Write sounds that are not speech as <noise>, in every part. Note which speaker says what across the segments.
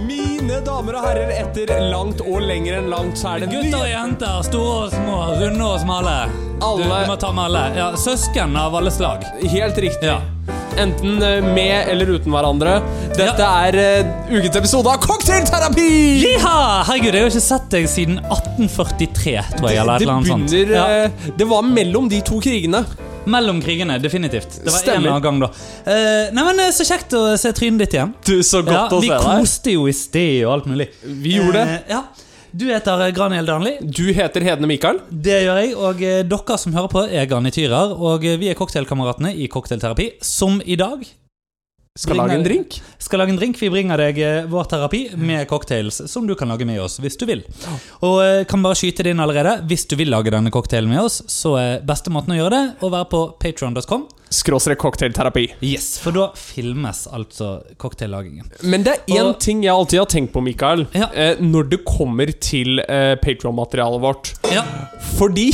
Speaker 1: Mine damer og herrer, etter langt og lenger enn langt, så er det
Speaker 2: Gutter og
Speaker 1: nye
Speaker 2: jenter, store og små, runde og smale. Du,
Speaker 1: Alle.
Speaker 2: du må ta med alle. Ja, søsken av alle slag.
Speaker 1: Helt riktig.
Speaker 2: Ja.
Speaker 1: Enten eh, med eller uten hverandre. Dette
Speaker 2: Ja.
Speaker 1: er eh, ukens episode av Cocktailterapi!
Speaker 2: Jiha! Herregud, jeg har ikke sett deg siden 1843, tror jeg. eller et
Speaker 1: Det
Speaker 2: eller annet sånt.
Speaker 1: begynner
Speaker 2: Ja.
Speaker 1: eh, Det var mellom de to krigene.
Speaker 2: Mellom krigene, definitivt. Det var
Speaker 1: Stemmer.
Speaker 2: en eller annen gang da Eh, Nei, men eh, Så kjekt å se trynet ditt igjen.
Speaker 1: Du, så
Speaker 2: Ja, vi koste jo i sted og alt mulig.
Speaker 1: Vi gjorde det.
Speaker 2: Eh, ja. Du heter eh, Graniel Danli.
Speaker 1: Du heter Hedne Mikael.
Speaker 2: Det gjør jeg. Og eh, dere som hører på, er garnityrer. Og eh, vi er cocktailkameratene i Cocktailterapi, som i dag
Speaker 1: Skal
Speaker 2: Bringer-
Speaker 1: lage en drink.
Speaker 2: skal lage en drink. Vi bringer deg eh, vår terapi med cocktails som du kan lage med oss hvis du vil. Og eh, kan bare skyte det inn allerede. Hvis du vil lage denne cocktailen med oss, så er beste måten å gjøre det å være på patreon.com
Speaker 1: Skråstrek cocktailterapi.
Speaker 2: Yes, for da filmes altså cocktaillagingen.
Speaker 1: Men det er én
Speaker 2: Og-
Speaker 1: ting jeg alltid har tenkt på, Mikael,
Speaker 2: Ja.
Speaker 1: eh, når det kommer til eh, Patreon-materialet vårt.
Speaker 2: Ja,
Speaker 1: Fordi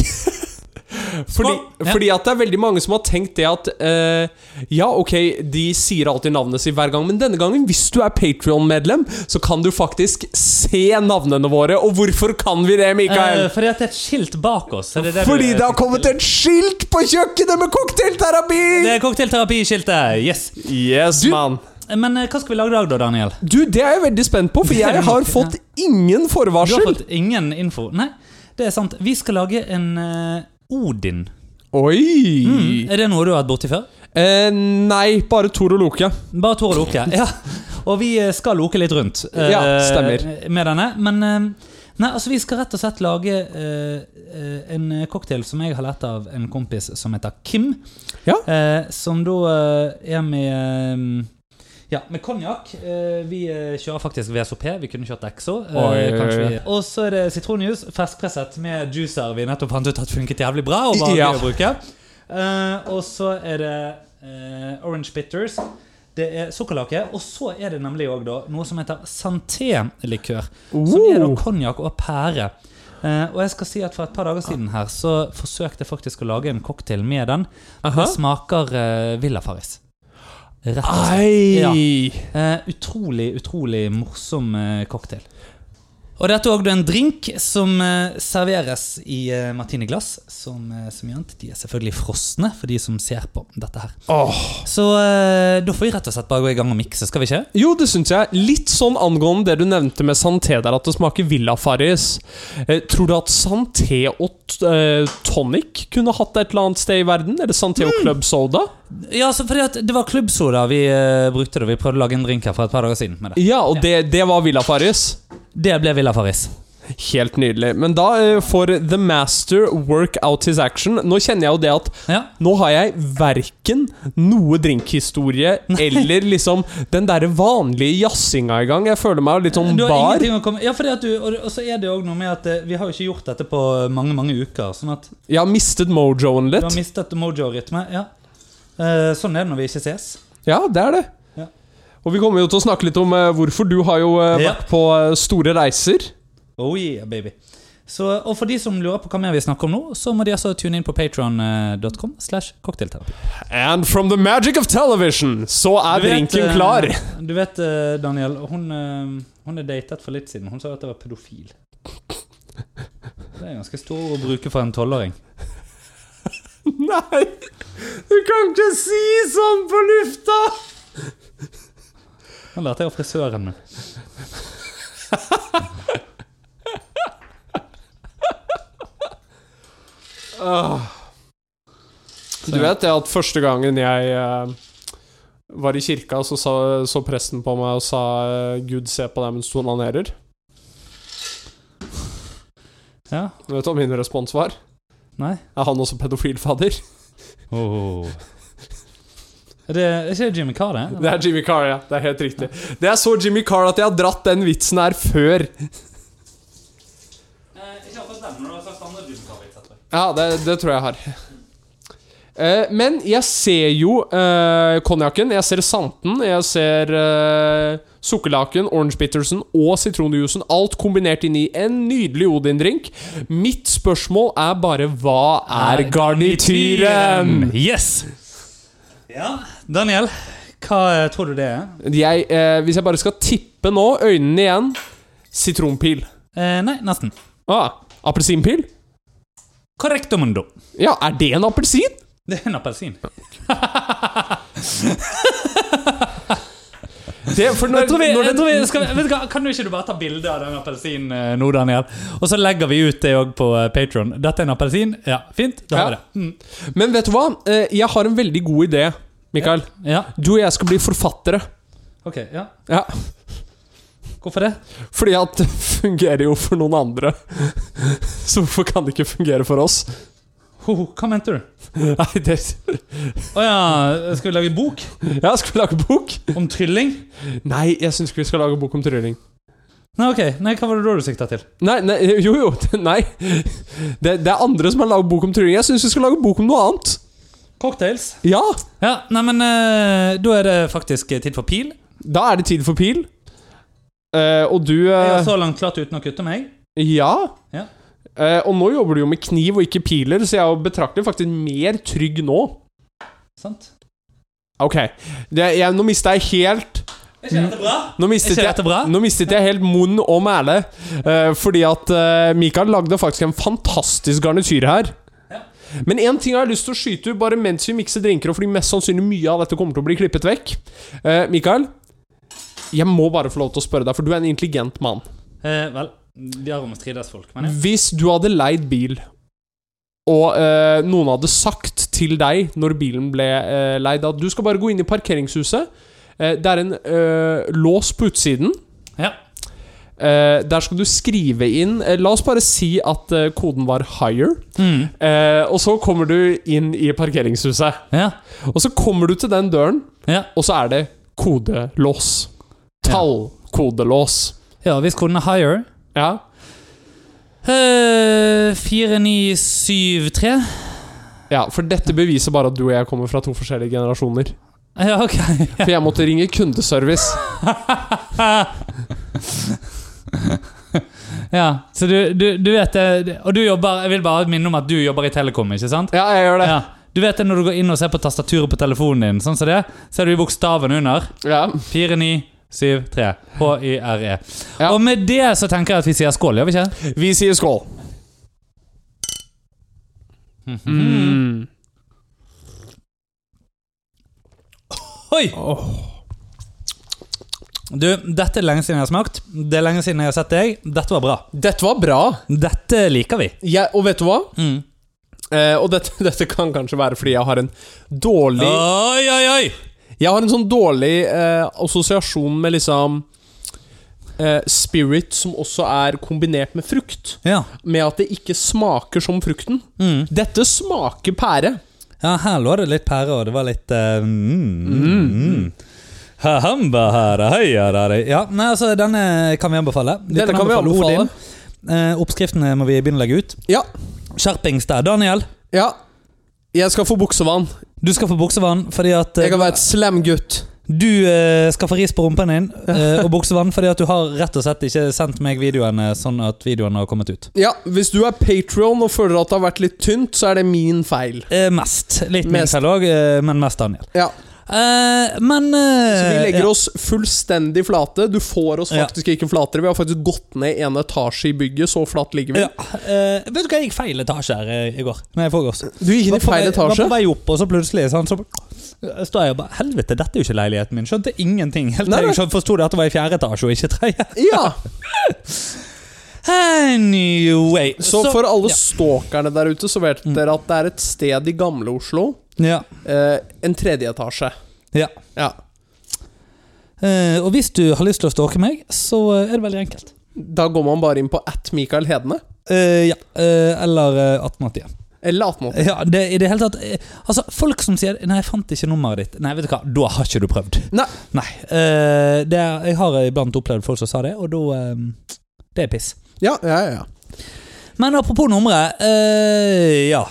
Speaker 1: Fordi,
Speaker 2: Ja.
Speaker 1: fordi at det er veldig mange som har tenkt det at eh, Ja, ok, de sier alltid navnet sitt hver gang, men denne gangen, hvis du er Patrion-medlem, så kan du faktisk se navnene våre. Og hvorfor kan vi det, Mikael?
Speaker 2: eh, fordi at det er et skilt bak oss. Er det det du-
Speaker 1: fordi det har kommet et skilt på kjøkkenet med cocktailterapi!
Speaker 2: Det er cocktailterapiskiltet! Yes.
Speaker 1: Yes, man.
Speaker 2: Men eh, hva skal vi lage i dag, da, Daniel?
Speaker 1: Du, det er jeg veldig spent på, for
Speaker 2: Det er
Speaker 1: jeg
Speaker 2: nok-
Speaker 1: har fått ingen
Speaker 2: Du har
Speaker 1: forvarsel.
Speaker 2: fått ingen info. Nei, det er sant. Vi skal lage en eh, Odin.
Speaker 1: Oi!
Speaker 2: Er det noe du har vært borti før?
Speaker 1: Eh, nei, bare Tor og Loke.
Speaker 2: Bare Tor og Loke. Ja. Og vi eh, skal loke litt rundt eh,
Speaker 1: Ja, stemmer.
Speaker 2: med denne. Men eh, nei, altså, vi skal rett og slett lage eh, eh, en cocktail som jeg har lært av en kompis som heter Kim.
Speaker 1: Ja.
Speaker 2: Eh, som da eh, er med eh, ja, med konjakk. Eh, vi eh, kjører faktisk VSOP. Vi kunne kjørt XO.
Speaker 1: Oi,
Speaker 2: Eh, kanskje
Speaker 1: oi,
Speaker 2: vi- og så er det sitronjuice, ferskpresset med juicer vi nettopp fant ut at funket jævlig bra. Og var
Speaker 1: Ja.
Speaker 2: gøy å bruke. Eh, og så er det eh, orange bitters. Det er sukkerlake. Og så er det nemlig også da noe som heter santé-likør. Som er da
Speaker 1: Oh.
Speaker 2: konjakk og pære. Eh, og jeg skal si at For et par dager siden her Så forsøkte jeg faktisk å lage en cocktail med den.
Speaker 1: Aha.
Speaker 2: Det smaker uh, Villa Farris. Rett og slett.
Speaker 1: Ei!
Speaker 2: Eh, utrolig, utrolig morsom eh, cocktail. Og dette er også en drink som eh, serveres i eh, martiniglass. Som, eh, som annet, De er selvfølgelig frosne for de som ser på dette her.
Speaker 1: Åh.
Speaker 2: Så eh, da får vi rett og slett bare gå i gang og mikse, skal vi ikke?
Speaker 1: Jo, det syns jeg. Litt sånn angående det du nevnte med santé der, at det smaker Villa Farris. Eh, tror du at santé og t eh, tonic kunne hatt det et eller annet sted i verden? Eller santé
Speaker 2: Mm.
Speaker 1: og club soda?
Speaker 2: Ja, altså, fordi at Det var klubbsoda vi eh, brukte da vi prøvde å lage en drink her for et par dager siden. med Det
Speaker 1: Ja, og det, det var Villa Farris.
Speaker 2: Det ble Villa Farris.
Speaker 1: Helt nydelig. Men da eh, får The Master work out his action. Nå kjenner jeg jo det at
Speaker 2: Ja.
Speaker 1: Nå har jeg verken noe drinkhistorie eller liksom den derre vanlige jazzinga i gang. Jeg føler meg jo litt sånn
Speaker 2: Du har
Speaker 1: bar.
Speaker 2: ingenting å komme Ja, fordi at du, og, og så er det jo også noe med at eh, vi har jo ikke gjort dette på mange mange uker. Sånn at du
Speaker 1: Jeg har mistet mojoen
Speaker 2: har
Speaker 1: litt.
Speaker 2: mistet mojo-rytme. Ja. Eh, sånn er det når vi ikke ses.
Speaker 1: Ja, det er det.
Speaker 2: Ja.
Speaker 1: Og vi kommer jo til å snakke litt om eh, hvorfor du har jo eh,
Speaker 2: Ja.
Speaker 1: vært på eh, store reiser.
Speaker 2: Oh yeah, baby. Så, og for de som lurer på hva mer vi snakker om nå, så må de altså tune inn på patron.com. slash cocktailterapi.
Speaker 1: And from the magic of television, så er
Speaker 2: Du vet,
Speaker 1: drinken
Speaker 2: eh,
Speaker 1: klar.
Speaker 2: Du vet, eh, Daniel, hun, eh, hun er datet for litt siden. Hun sa at jeg var pedofil. Det er ganske stor ord å bruke for en tolvåring.
Speaker 1: <laughs> Nei, du kan ikke si sånn på lufta!
Speaker 2: Den lærte jeg av frisøren min.
Speaker 1: Ah. Du vet det at første gangen jeg eh, var i kirka, så sa, så presten på meg og sa eh, 'Gud se på deg mens du onanerer'.
Speaker 2: Ja,
Speaker 1: Vet du hva min respons var?
Speaker 2: nei.
Speaker 1: Er han også pedofilfadder?
Speaker 2: Oh. Er det er ikke det Jimmy Carr, det?
Speaker 1: Det er Jimmy Carr, ja. Det er helt riktig. Det er så Jimmy Carr at jeg har dratt den vitsen her før.
Speaker 2: Eh, Ikke akkurat den, men du har sagt andre Jimmy Carr-vitser.
Speaker 1: Ja, det, det tror jeg jeg har. Eh, men jeg ser jo eh, konjakken, jeg ser santen, jeg ser eh, sukkerlaken, orange bittersen og sitronjuicen. Alt kombinert inn i en nydelig Odin-drink. Mitt spørsmål er bare hva er garnityren?
Speaker 2: Yes! Ja, Daniel, hva eh, tror du det er?
Speaker 1: Jeg, eh, hvis jeg bare skal tippe nå, øynene igjen Sitronpil.
Speaker 2: Eh, nei, nesten.
Speaker 1: Ah, Appelsinpil?
Speaker 2: Correctomundo.
Speaker 1: Ja, er det en appelsin?
Speaker 2: Det er en appelsin.
Speaker 1: Det, for når,
Speaker 2: Jeg tror vi,
Speaker 1: når
Speaker 2: jeg
Speaker 1: den-
Speaker 2: tror vi skal, vet du hva, Kan du ikke du bare ta bilde av den appelsinen eh, nå, Daniel? Og så legger vi ut det òg på Patron. Dette er en appelsin. Ja, fint. Da har vi
Speaker 1: Ja.
Speaker 2: det. Mm.
Speaker 1: Men vet du hva? Eh, Jeg har en veldig god idé, Mikael.
Speaker 2: Ja,
Speaker 1: Du og jeg skal bli forfattere.
Speaker 2: ok, ja.
Speaker 1: Ja,
Speaker 2: Hvorfor det?
Speaker 1: Fordi at det fungerer jo for noen andre. <laughs> Så hvorfor kan det ikke fungere for oss?
Speaker 2: Ho, ho, hva mente du?
Speaker 1: Nei, det
Speaker 2: Å ja, skal vi lage bok
Speaker 1: Ja, skal vi lage bok?
Speaker 2: om trylling?
Speaker 1: Nei, jeg syns ikke vi skal lage bok om trylling.
Speaker 2: Nei, ok, nei, hva var det da du sikta til?
Speaker 1: Nei, nei, jo jo, nei. Det, det er andre som har lagd bok om trylling. Jeg syns vi skal lage bok om noe annet.
Speaker 2: Cocktails?
Speaker 1: Ja,
Speaker 2: Ja, nei, men eh, da er det faktisk tid for pil.
Speaker 1: da er det tid for pil. Eh, og du
Speaker 2: Jeg
Speaker 1: eh,
Speaker 2: har så langt klart uten å kutte meg.
Speaker 1: Ja.
Speaker 2: Ja.
Speaker 1: Eh, og nå jobber du jo med kniv og ikke piler, så jeg er jo betraktelig faktisk mer trygg nå.
Speaker 2: Sant?
Speaker 1: Ok, det, jeg, nå mista jeg helt
Speaker 2: Er ikke dette bra?
Speaker 1: Nå mistet,
Speaker 2: ikke
Speaker 1: jeg,
Speaker 2: dette bra?
Speaker 1: nå mistet jeg helt munn og mæle. eh, fordi at eh, Mikael lagde faktisk en fantastisk garnityr her.
Speaker 2: Ja.
Speaker 1: Men én ting har jeg lyst til å skyte ut, bare mens vi mikser drinker, og fordi mest sannsynlig mye av dette kommer til å bli klippet vekk. Eh, Mikael, jeg må bare få lov til å spørre deg, for du er en intelligent mann.
Speaker 2: Eh, vel, de har om å strides folk, men ja.
Speaker 1: Hvis du hadde leid bil, og eh, noen hadde sagt til deg når bilen ble eh, leid, at du skal bare gå inn i parkeringshuset eh, Det er en eh, lås på utsiden.
Speaker 2: ja.
Speaker 1: Eh, der skal du skrive inn eh, La oss bare si at eh, koden var 'higher'.
Speaker 2: Mm.
Speaker 1: Eh, og så kommer du inn i parkeringshuset.
Speaker 2: ja.
Speaker 1: Og så kommer du til den døren,
Speaker 2: Ja.
Speaker 1: og så er det kodelås. Tallkodelås.
Speaker 2: ja, hvis koden er higher
Speaker 1: Ja.
Speaker 2: eh, 4973.
Speaker 1: ja, for dette beviser bare at du og jeg kommer fra to forskjellige generasjoner.
Speaker 2: Ja, ok. <laughs>
Speaker 1: For jeg måtte ringe kundeservice.
Speaker 2: ja, så du, du, du vet det Og du jobber Jeg vil bare minne om at du jobber i Telekom, ikke sant?
Speaker 1: Ja, jeg gjør det.
Speaker 2: Ja. Du vet det når du går inn og ser på tastaturet på telefonen din, sånn som det, ser du bokstaven under.
Speaker 1: Ja.
Speaker 2: 4973. H-y-r-e.
Speaker 1: Ja.
Speaker 2: E. Og med det så tenker jeg at vi sier skål, gjør vi ikke?
Speaker 1: Vi sier skål. Mm.
Speaker 2: Oi! Du, dette er lenge siden jeg har smakt. Det er lenge siden jeg har sett deg. Dette var bra.
Speaker 1: Dette var bra.
Speaker 2: Dette liker vi.
Speaker 1: Jeg, og vet du hva?
Speaker 2: Mm.
Speaker 1: Eh, og dette, <laughs> dette kan kanskje være fordi jeg har en dårlig
Speaker 2: Oi, oi, oi!
Speaker 1: Jeg har en sånn dårlig eh, assosiasjon med liksom eh, Spirit som også er kombinert med frukt.
Speaker 2: Ja.
Speaker 1: Med at det ikke smaker som frukten.
Speaker 2: Mm.
Speaker 1: Dette smaker pære.
Speaker 2: Ja, her lå det litt pære, og det var litt eh, mm, mm. Hahamba her, heiarare. Ja, nei, altså, denne kan vi anbefale. Vi
Speaker 1: Denne kan vi anbefale.
Speaker 2: Odin. Eh, oppskriftene må vi begynne å legge ut.
Speaker 1: Ja.
Speaker 2: Skjerpings der. Daniel,
Speaker 1: ja. Jeg skal få buksevann.
Speaker 2: du skal få buksevann fordi at eh,
Speaker 1: Jeg kan være et slam gutt.
Speaker 2: du eh, skal få ris på rumpen din eh, og buksevann fordi at du har rett og slett ikke sendt meg videoene sånn at videoene har kommet ut.
Speaker 1: Ja, hvis du er Patrion og føler at det har vært litt tynt, så er det min feil.
Speaker 2: Eh, mest. Litt min
Speaker 1: Mest.
Speaker 2: selv òg, eh, men mest Daniel.
Speaker 1: Ja.
Speaker 2: Eh, men
Speaker 1: Så vi legger
Speaker 2: ja.
Speaker 1: oss fullstendig flate. Du får oss
Speaker 2: Ja.
Speaker 1: faktisk ikke flatere. Vi har faktisk gått ned en etasje i bygget. Så flatt ligger vi.
Speaker 2: Ja, eh, vet du hva, jeg gikk feil etasje her eh, i går. Nei, i forgårs.
Speaker 1: Du gikk inn i feil
Speaker 2: Var på
Speaker 1: etasje.
Speaker 2: vei opp, og så plutselig sånn, så står jeg og bare Helvete, dette er jo ikke leiligheten min. Skjønte ingenting. Helt
Speaker 1: Nei,
Speaker 2: til
Speaker 1: nei.
Speaker 2: jeg skjønte- forsto det at det var i fjerde etasje og ikke tredje. <laughs>
Speaker 1: Ja.
Speaker 2: Anyway.
Speaker 1: Så Mm. for alle
Speaker 2: ja.
Speaker 1: stalkerne der ute, så vet dere at det er et sted i gamle Oslo.
Speaker 2: Ja.
Speaker 1: Eh, en tredje etasje.
Speaker 2: ja.
Speaker 1: Ja.
Speaker 2: Eh, og hvis du har lyst til å stalke meg, så eh, er det veldig enkelt.
Speaker 1: Da går man bare inn på at Mikael Hedene.
Speaker 2: Eh, ja. Eh, eller eh, 1881.
Speaker 1: Eller 1880.
Speaker 2: Ja, det, i det hele tatt eh, Altså, folk som sier 'Nei, jeg fant ikke nummeret ditt'. Nei, vet du hva, da har ikke du prøvd.
Speaker 1: Nei.
Speaker 2: Nei. eh, det er, jeg har iblant opplevd folk som sa det, og da eh, Det er piss.
Speaker 1: Ja, ja, ja.
Speaker 2: Men apropos numre. eh, ja.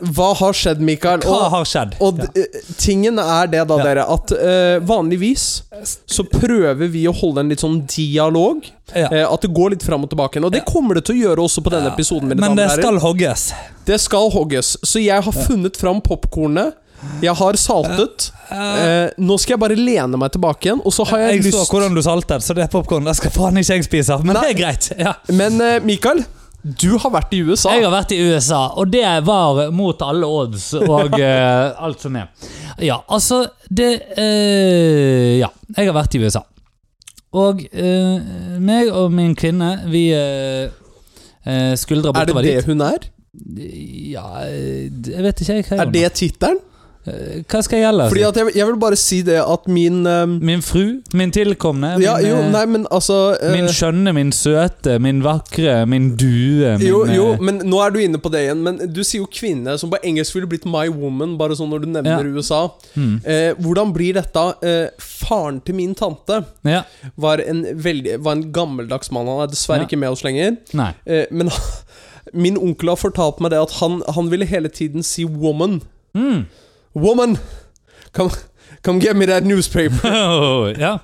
Speaker 1: Hva har skjedd, Mikael?
Speaker 2: Hva
Speaker 1: Og,
Speaker 2: har skjedd?
Speaker 1: og d- eh, tingen er det, da,
Speaker 2: Ja.
Speaker 1: dere, at eh, vanligvis så prøver vi å holde en litt sånn dialog.
Speaker 2: ja. Ja.
Speaker 1: Eh, at det går litt fram og tilbake. igjen, Og det kommer det til å gjøre også på denne
Speaker 2: Ja,
Speaker 1: episoden. mine damer
Speaker 2: Men det
Speaker 1: og herrer.
Speaker 2: skal hogges.
Speaker 1: det skal hogges. Så jeg har funnet fram popkornet. Jeg har saltet. Eh, nå skal jeg bare lene meg tilbake igjen, og så har jeg,
Speaker 2: jeg så
Speaker 1: lyst
Speaker 2: hvordan du saltet, så det popkorn skal faen ikke jeg spise. Men det er greit. Ja.
Speaker 1: Men eh, Mikael, du har vært i USA.
Speaker 2: Jeg har vært i USA, og det var mot alle
Speaker 1: <laughs>
Speaker 2: odds og eh, alt som er. Ja, altså det eh, Ja, jeg har vært i USA. Og eh, meg og min kvinne, vi uh,
Speaker 1: Er
Speaker 2: skuldra
Speaker 1: det
Speaker 2: bortover
Speaker 1: det
Speaker 2: dit.
Speaker 1: hun er?
Speaker 2: Ja, eh, jeg vet ikke, jeg. Hva, jeg
Speaker 1: Er det tittelen?
Speaker 2: gjør. hva skal jeg gjelde?
Speaker 1: Fordi at jeg, jeg vil bare si det at min eh,
Speaker 2: Min fru, min tilkomne, min,
Speaker 1: Ja, jo,
Speaker 2: eh,
Speaker 1: nei, men altså eh,
Speaker 2: min skjønne, min søte, min vakre, min due min,
Speaker 1: jo, jo,
Speaker 2: eh,
Speaker 1: men nå er du inne på det igjen. Men du sier jo kvinne, som på engelsk ville blitt my woman, bare sånn når du nevner USA.
Speaker 2: Mm.
Speaker 1: Eh, hvordan blir dette? Eh, faren til min tante
Speaker 2: Ja,
Speaker 1: var en, veldig, var en gammeldags mann. Han er dessverre
Speaker 2: Ja.
Speaker 1: ikke med oss lenger.
Speaker 2: nei.
Speaker 1: Eh, men min onkel har fortalt meg det at han, han ville hele tiden si 'woman'.
Speaker 2: Mm.
Speaker 1: Woman! Come, come get me that
Speaker 2: <laughs>
Speaker 1: newspaper.
Speaker 2: <laughs> ja.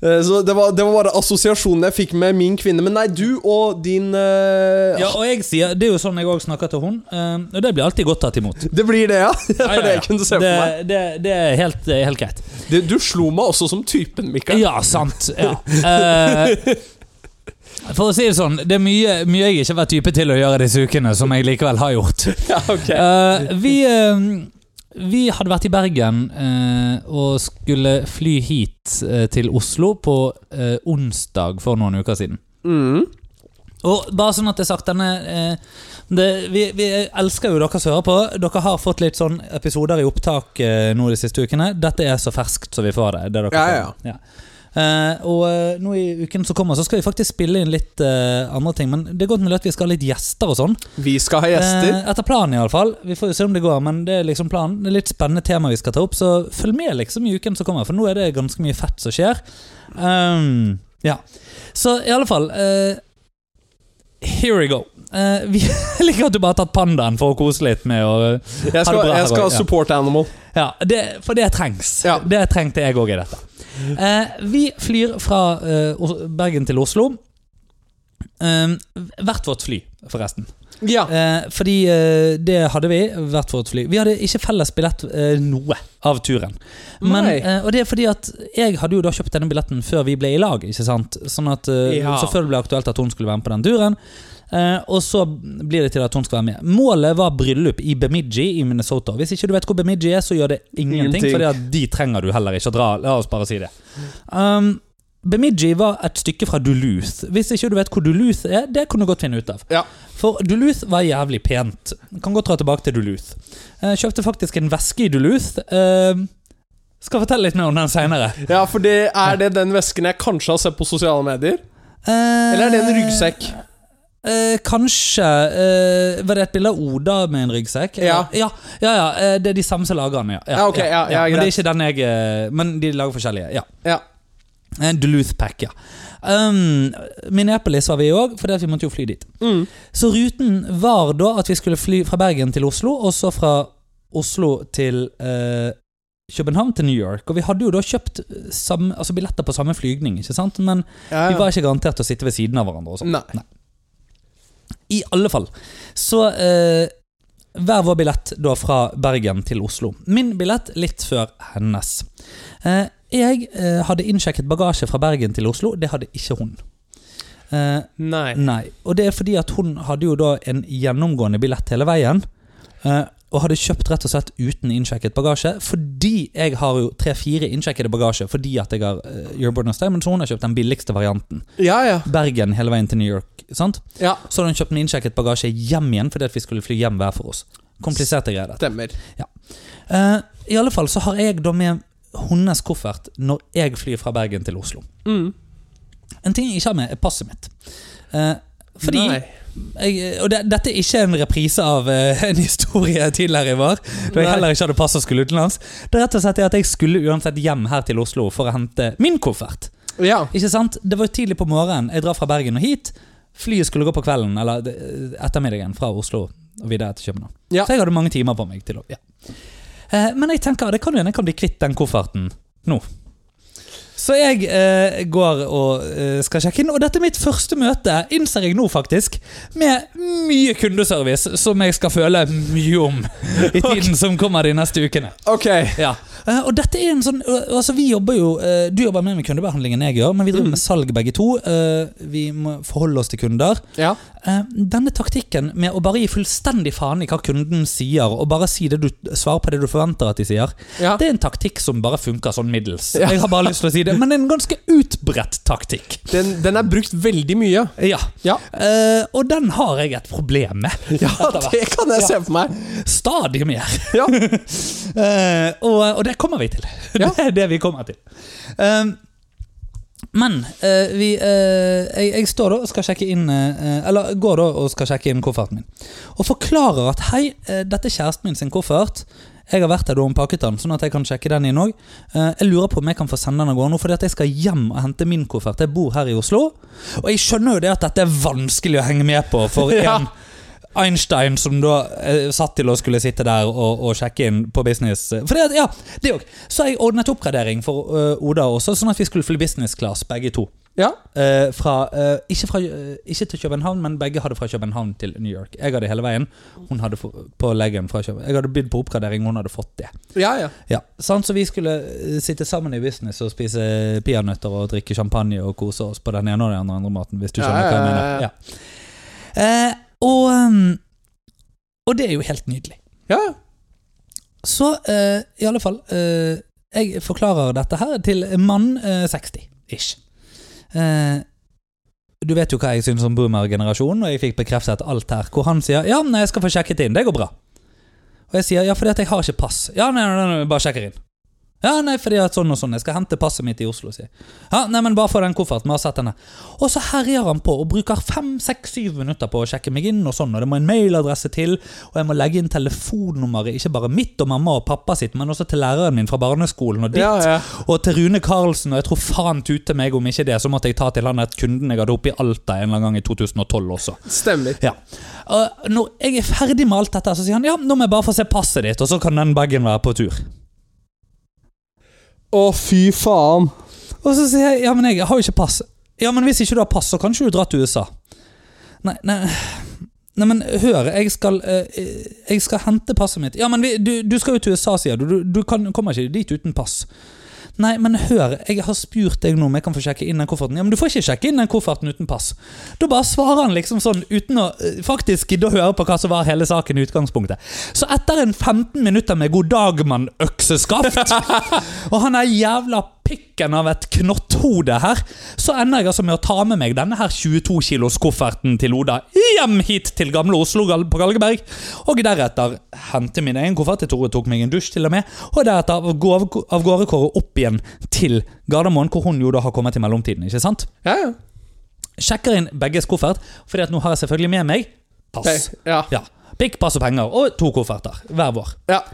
Speaker 1: Eh, Så det var, det var bare assosiasjonen jeg fikk med min kvinne. Men nei, du og din eh,
Speaker 2: Ja, og jeg sier, Det er jo sånn jeg òg snakker til hun, eh, og det blir alltid godt tatt imot.
Speaker 1: <laughs> Det blir det, ja. <laughs> Det
Speaker 2: Ja,
Speaker 1: var
Speaker 2: ja,
Speaker 1: det
Speaker 2: ja.
Speaker 1: jeg kunne se
Speaker 2: det,
Speaker 1: for meg.
Speaker 2: det, det er helt, det er helt greit.
Speaker 1: Du, du slo meg også som typen, Mikael.
Speaker 2: Ja, sant. Ja. Eh, for å si det sånn, det er mye, mye jeg ikke har vært type til å gjøre disse ukene, som jeg likevel har gjort.
Speaker 1: Ja, ok.
Speaker 2: Eh, vi, eh, vi hadde vært i Bergen eh, og skulle fly hit eh, til Oslo på eh, onsdag for noen uker siden.
Speaker 1: <laughs> Mm.
Speaker 2: Og bare sånn at det er sagt, denne eh, det, vi, vi elsker jo dere som hører på. Dere har fått litt sånn episoder i opptak eh, nå de siste ukene. Dette er så ferskt som vi får det. det dere
Speaker 1: Ja,
Speaker 2: får.
Speaker 1: ja,
Speaker 2: Eh, og eh, nå i uken som kommer, så skal vi faktisk spille inn litt eh, andre ting. Men det er godt mulig at vi skal ha litt gjester og sånn.
Speaker 1: Vi skal ha gjester.
Speaker 2: Eh, etter planen, iallfall. Vi får jo se om det går, men det er liksom planen. Det er litt spennende tema vi skal ta opp, så følg med liksom i uken som kommer, for nå er det ganske mye fett som skjer. Ehm, ja. Så i alle fall eh, Here we go. Eh, vi <laughs> jeg liker at du bare har tatt pandaen for å kose litt med å
Speaker 1: Jeg skal,
Speaker 2: Ha det bra,
Speaker 1: jeg skal ha
Speaker 2: ja.
Speaker 1: support animal.
Speaker 2: Ja, det, for det trengs.
Speaker 1: Ja.
Speaker 2: Det trengte jeg òg i dette. Eh, vi flyr fra eh, Os- Bergen til Oslo. Eh, hvert vårt fly, forresten.
Speaker 1: Ja.
Speaker 2: Eh, fordi eh, det hadde vi hvert vårt fly. Vi hadde ikke felles billett eh, noe av turen. Men,
Speaker 1: Nei.
Speaker 2: eh, og det er fordi at jeg hadde jo da kjøpt denne billetten før vi ble i lag. Ikke sant? Sånn at eh,
Speaker 1: Ja.
Speaker 2: Så før det ble aktuelt at hun skulle være med på den turen. Eh, og så blir det til at hun skal være med. Målet var bryllup i Bemidji i Minnesota. Hvis ikke du vet hvor Bemidji er, så gjør det ingenting,
Speaker 1: Ingenting.
Speaker 2: Fordi at de trenger du heller ikke å dra. La oss bare si det. Um, Bemidji var et stykke fra Duluth. Hvis ikke du vet hvor Duluth er, det kan du godt finne ut av.
Speaker 1: Ja.
Speaker 2: For Duluth var jævlig pent. Kan godt dra tilbake til Duluth. Eh, kjøpte faktisk en veske i Duluth. Eh, skal fortelle litt mer om den seinere.
Speaker 1: ja, for det er det den vesken jeg kanskje har sett på sosiale medier? Eller er det en ryggsekk?
Speaker 2: Eh, kanskje eh, Var det et bilde av Oda med en ryggsekk?
Speaker 1: Ja.
Speaker 2: ja, ja, ja eh, Det er de samme som lager den, ja.
Speaker 1: Ja, ok, ja, ja,
Speaker 2: men det er
Speaker 1: greit.
Speaker 2: ikke den jeg eh, Men de lager forskjellige. ja
Speaker 1: Ja.
Speaker 2: Eh, Duluth Pack, ja. Um, Minneapolis var vi òg, for vi måtte jo fly dit.
Speaker 1: Mm.
Speaker 2: Så ruten var da at vi skulle fly fra Bergen til Oslo, og så fra Oslo til eh, København til New York. Og vi hadde jo da kjøpt samme, altså billetter på samme flygning, ikke sant? men
Speaker 1: Ja, ja.
Speaker 2: vi var ikke garantert å sitte ved siden av hverandre. Og sånn.
Speaker 1: Nei.
Speaker 2: I alle fall. Så eh, hver vår billett da fra Bergen til Oslo. Min billett litt før hennes. Eh, jeg eh, hadde innsjekket bagasje fra Bergen til Oslo. Det hadde ikke hun. Eh,
Speaker 1: Nei.
Speaker 2: nei. Og det er fordi at hun hadde jo da en gjennomgående billett hele veien. eh, og hadde kjøpt rett og slett uten innsjekket bagasje. Fordi jeg har jo tre-fire innsjekkede bagasje fordi at jeg har eh, Euroborn og Steinman, så hun har kjøpt den billigste varianten.
Speaker 1: Ja, ja.
Speaker 2: Bergen hele veien til New York. sant?
Speaker 1: Ja,
Speaker 2: Så hadde hun kjøpt en innsjekket bagasje hjem igjen fordi at vi skulle fly hjem hver for oss. Kompliserte greier. dette.
Speaker 1: stemmer.
Speaker 2: Eh, I alle fall så har jeg da med hennes koffert når jeg flyr fra Bergen til Oslo.
Speaker 1: Mm.
Speaker 2: En ting jeg ikke har med, er passet mitt. Eh, fordi
Speaker 1: Nei.
Speaker 2: jeg, Og det, dette er ikke en reprise av eh, en historie tidligere i vår, da jeg
Speaker 1: Nei.
Speaker 2: heller ikke hadde pass og skulle utenlands. Det er rett og slett det at jeg skulle uansett hjem her til Oslo for å hente min koffert.
Speaker 1: Ja.
Speaker 2: Ikke sant? Det var jo tidlig på morgenen. Jeg drar fra Bergen og hit. Flyet skulle gå på kvelden, eller eh, ettermiddagen, fra Oslo og videre til København.
Speaker 1: Ja.
Speaker 2: Så jeg hadde mange timer på meg til å ja. Eh, Men jeg tenker, det kan jo hende jeg kan bli kvitt den kofferten nå. Så jeg eh, går og eh, skal sjekke inn, og dette er mitt første møte, innser jeg nå faktisk, med mye kundeservice som jeg skal føle mye
Speaker 1: <laughs>
Speaker 2: om i tiden som kommer de neste ukene.
Speaker 1: Ok.
Speaker 2: Ja. Eh, Og dette er en sånn og- altså vi jobber jo, eh, Du jobber mer med kundebehandling enn jeg gjør, men vi
Speaker 1: Mm.
Speaker 2: driver med salg begge to. Eh, Vi må forholde oss til kunder.
Speaker 1: Ja.
Speaker 2: Eh, Denne taktikken med å bare gi fullstendig faen i hva kunden sier, og bare si det du, svare på det du forventer at de sier,
Speaker 1: Ja.
Speaker 2: det er en taktikk som bare funker sånn middels.
Speaker 1: Ja.
Speaker 2: Jeg har bare lyst til å si det, men det er en ganske utbredt taktikk.
Speaker 1: Den, den er brukt veldig mye.
Speaker 2: Ja.
Speaker 1: Ja.
Speaker 2: Eh, og den har jeg et problem med.
Speaker 1: Ja,
Speaker 2: Etter hvert.
Speaker 1: det kan jeg se for meg.
Speaker 2: Stadig mer.
Speaker 1: Ja.
Speaker 2: <laughs> Eh, og, og det kommer vi til.
Speaker 1: Ja.
Speaker 2: <laughs> Det er det vi kommer til. Um, men eh, vi, eh, jeg, jeg står da og skal sjekke inn eh, Eller går da og skal sjekke inn kofferten min. Og forklarer at hei, eh, dette er kjæresten min sin koffert. Jeg har vært her da hun pakket den, sånn at jeg kan sjekke den inn òg. jeg lurer på om jeg kan få sende den av gårde nå, fordi at jeg skal hjem og hente min koffert. Jeg bor her i Oslo. Og jeg skjønner jo det at dette er vanskelig å henge med på
Speaker 1: <laughs>
Speaker 2: for
Speaker 1: Ja.
Speaker 2: en Einstein som da eh, satt til å skulle sitte der og, og sjekke inn på business. For det, at- ja, det også. Så har jeg ordnet oppgradering for eh, Oda også, sånn at vi skulle fly business class begge to.
Speaker 1: Ja.
Speaker 2: Eh, fra, eh, ikke, fra, eh, ikke til København, men begge hadde fra København til New York. Jeg hadde hele veien. Hun hadde få- på leggen fra København. Jeg hadde bydd på oppgradering, hun hadde fått det.
Speaker 1: Ja, ja.
Speaker 2: Ja, sant? Sånn, Så vi skulle eh, sitte sammen i business og spise peanøtter og drikke champagne og kose oss på den ene og den andre, andre maten, hvis du
Speaker 1: Ja,
Speaker 2: skjønner
Speaker 1: ja,
Speaker 2: hva jeg
Speaker 1: ja,
Speaker 2: mener. Ja. Eh, og, ehm, og det er jo helt nydelig.
Speaker 1: ja. ja.
Speaker 2: Så eh, i alle fall eh, Jeg forklarer dette her til mann eh, 60-ish. Eh, du vet jo hva jeg syns om boomer-generasjonen, og jeg fikk bekreftet alt her. Hvor han sier 'ja, nei, jeg skal få sjekket inn', det går bra. Og jeg sier 'ja, fordi at jeg har ikke pass'. 'Ja, nei, nei, nei bare sjekker inn'. Ja, nei, fordi at sånn og sånn. Jeg skal hente passet mitt i Oslo, sier jeg. Ja, nei, men bare få den kofferten. Vi har sett denne. Og så herjer han på og bruker fem, seks, syv minutter på å sjekke meg inn, og sånn, og det må en mailadresse til, og jeg må legge inn telefonnummeret, ikke bare mitt og mamma og pappa sitt, men også til læreren min fra barneskolen og ditt,
Speaker 1: Ja, ja.
Speaker 2: og til Rune Karlsen, og jeg tror faen tute meg om ikke det, så måtte jeg ta til han et kunden jeg hadde oppe i Alta en eller annen gang i 2012 også.
Speaker 1: Stemmer.
Speaker 2: Ja. Og når jeg er ferdig med alt dette, så sier han ja, nå må jeg bare få se passet ditt, og så kan den bagen være på tur.
Speaker 1: Å, fy faen.
Speaker 2: Og så sier jeg ja, men jeg har jo ikke pass. Ja, men hvis ikke du har pass, så kan ikke du dra til USA. Nei, nei, nei men hør, jeg skal, eh, jeg skal hente passet mitt. Ja, men vi, du, du skal jo til USA, sier du. Du, du kan, kommer ikke dit uten pass. Nei, men hør, jeg har spurt deg nå om jeg kan få sjekke inn den kofferten. Ja, men du får ikke sjekke inn den kofferten uten pass. Da bare svarer han liksom sånn, uten å eh, faktisk gidde å høre på hva som var hele saken i utgangspunktet. Så etter en 15 minutter med god dag, mann, økseskaft, og han er jævla pikken av et knotthode her, så ender jeg altså med å ta med meg denne her 22 kilos kofferten til Oda hjem hit til gamle Oslo Gal- på Galgeberg, og deretter hente min egen koffert. Jeg tror jeg tok meg en dusj til og med, og deretter av gå- av gårde Kåre opp igjen til Gardermoen, hvor hun jo da har kommet i mellomtiden, ikke sant?
Speaker 1: Ja, ja.
Speaker 2: Sjekker inn begges koffert, fordi at nå har jeg selvfølgelig med meg pass.
Speaker 1: Nei, Ja.
Speaker 2: Ja, Pikk, pass og penger, og to kofferter hver vår.
Speaker 1: ja.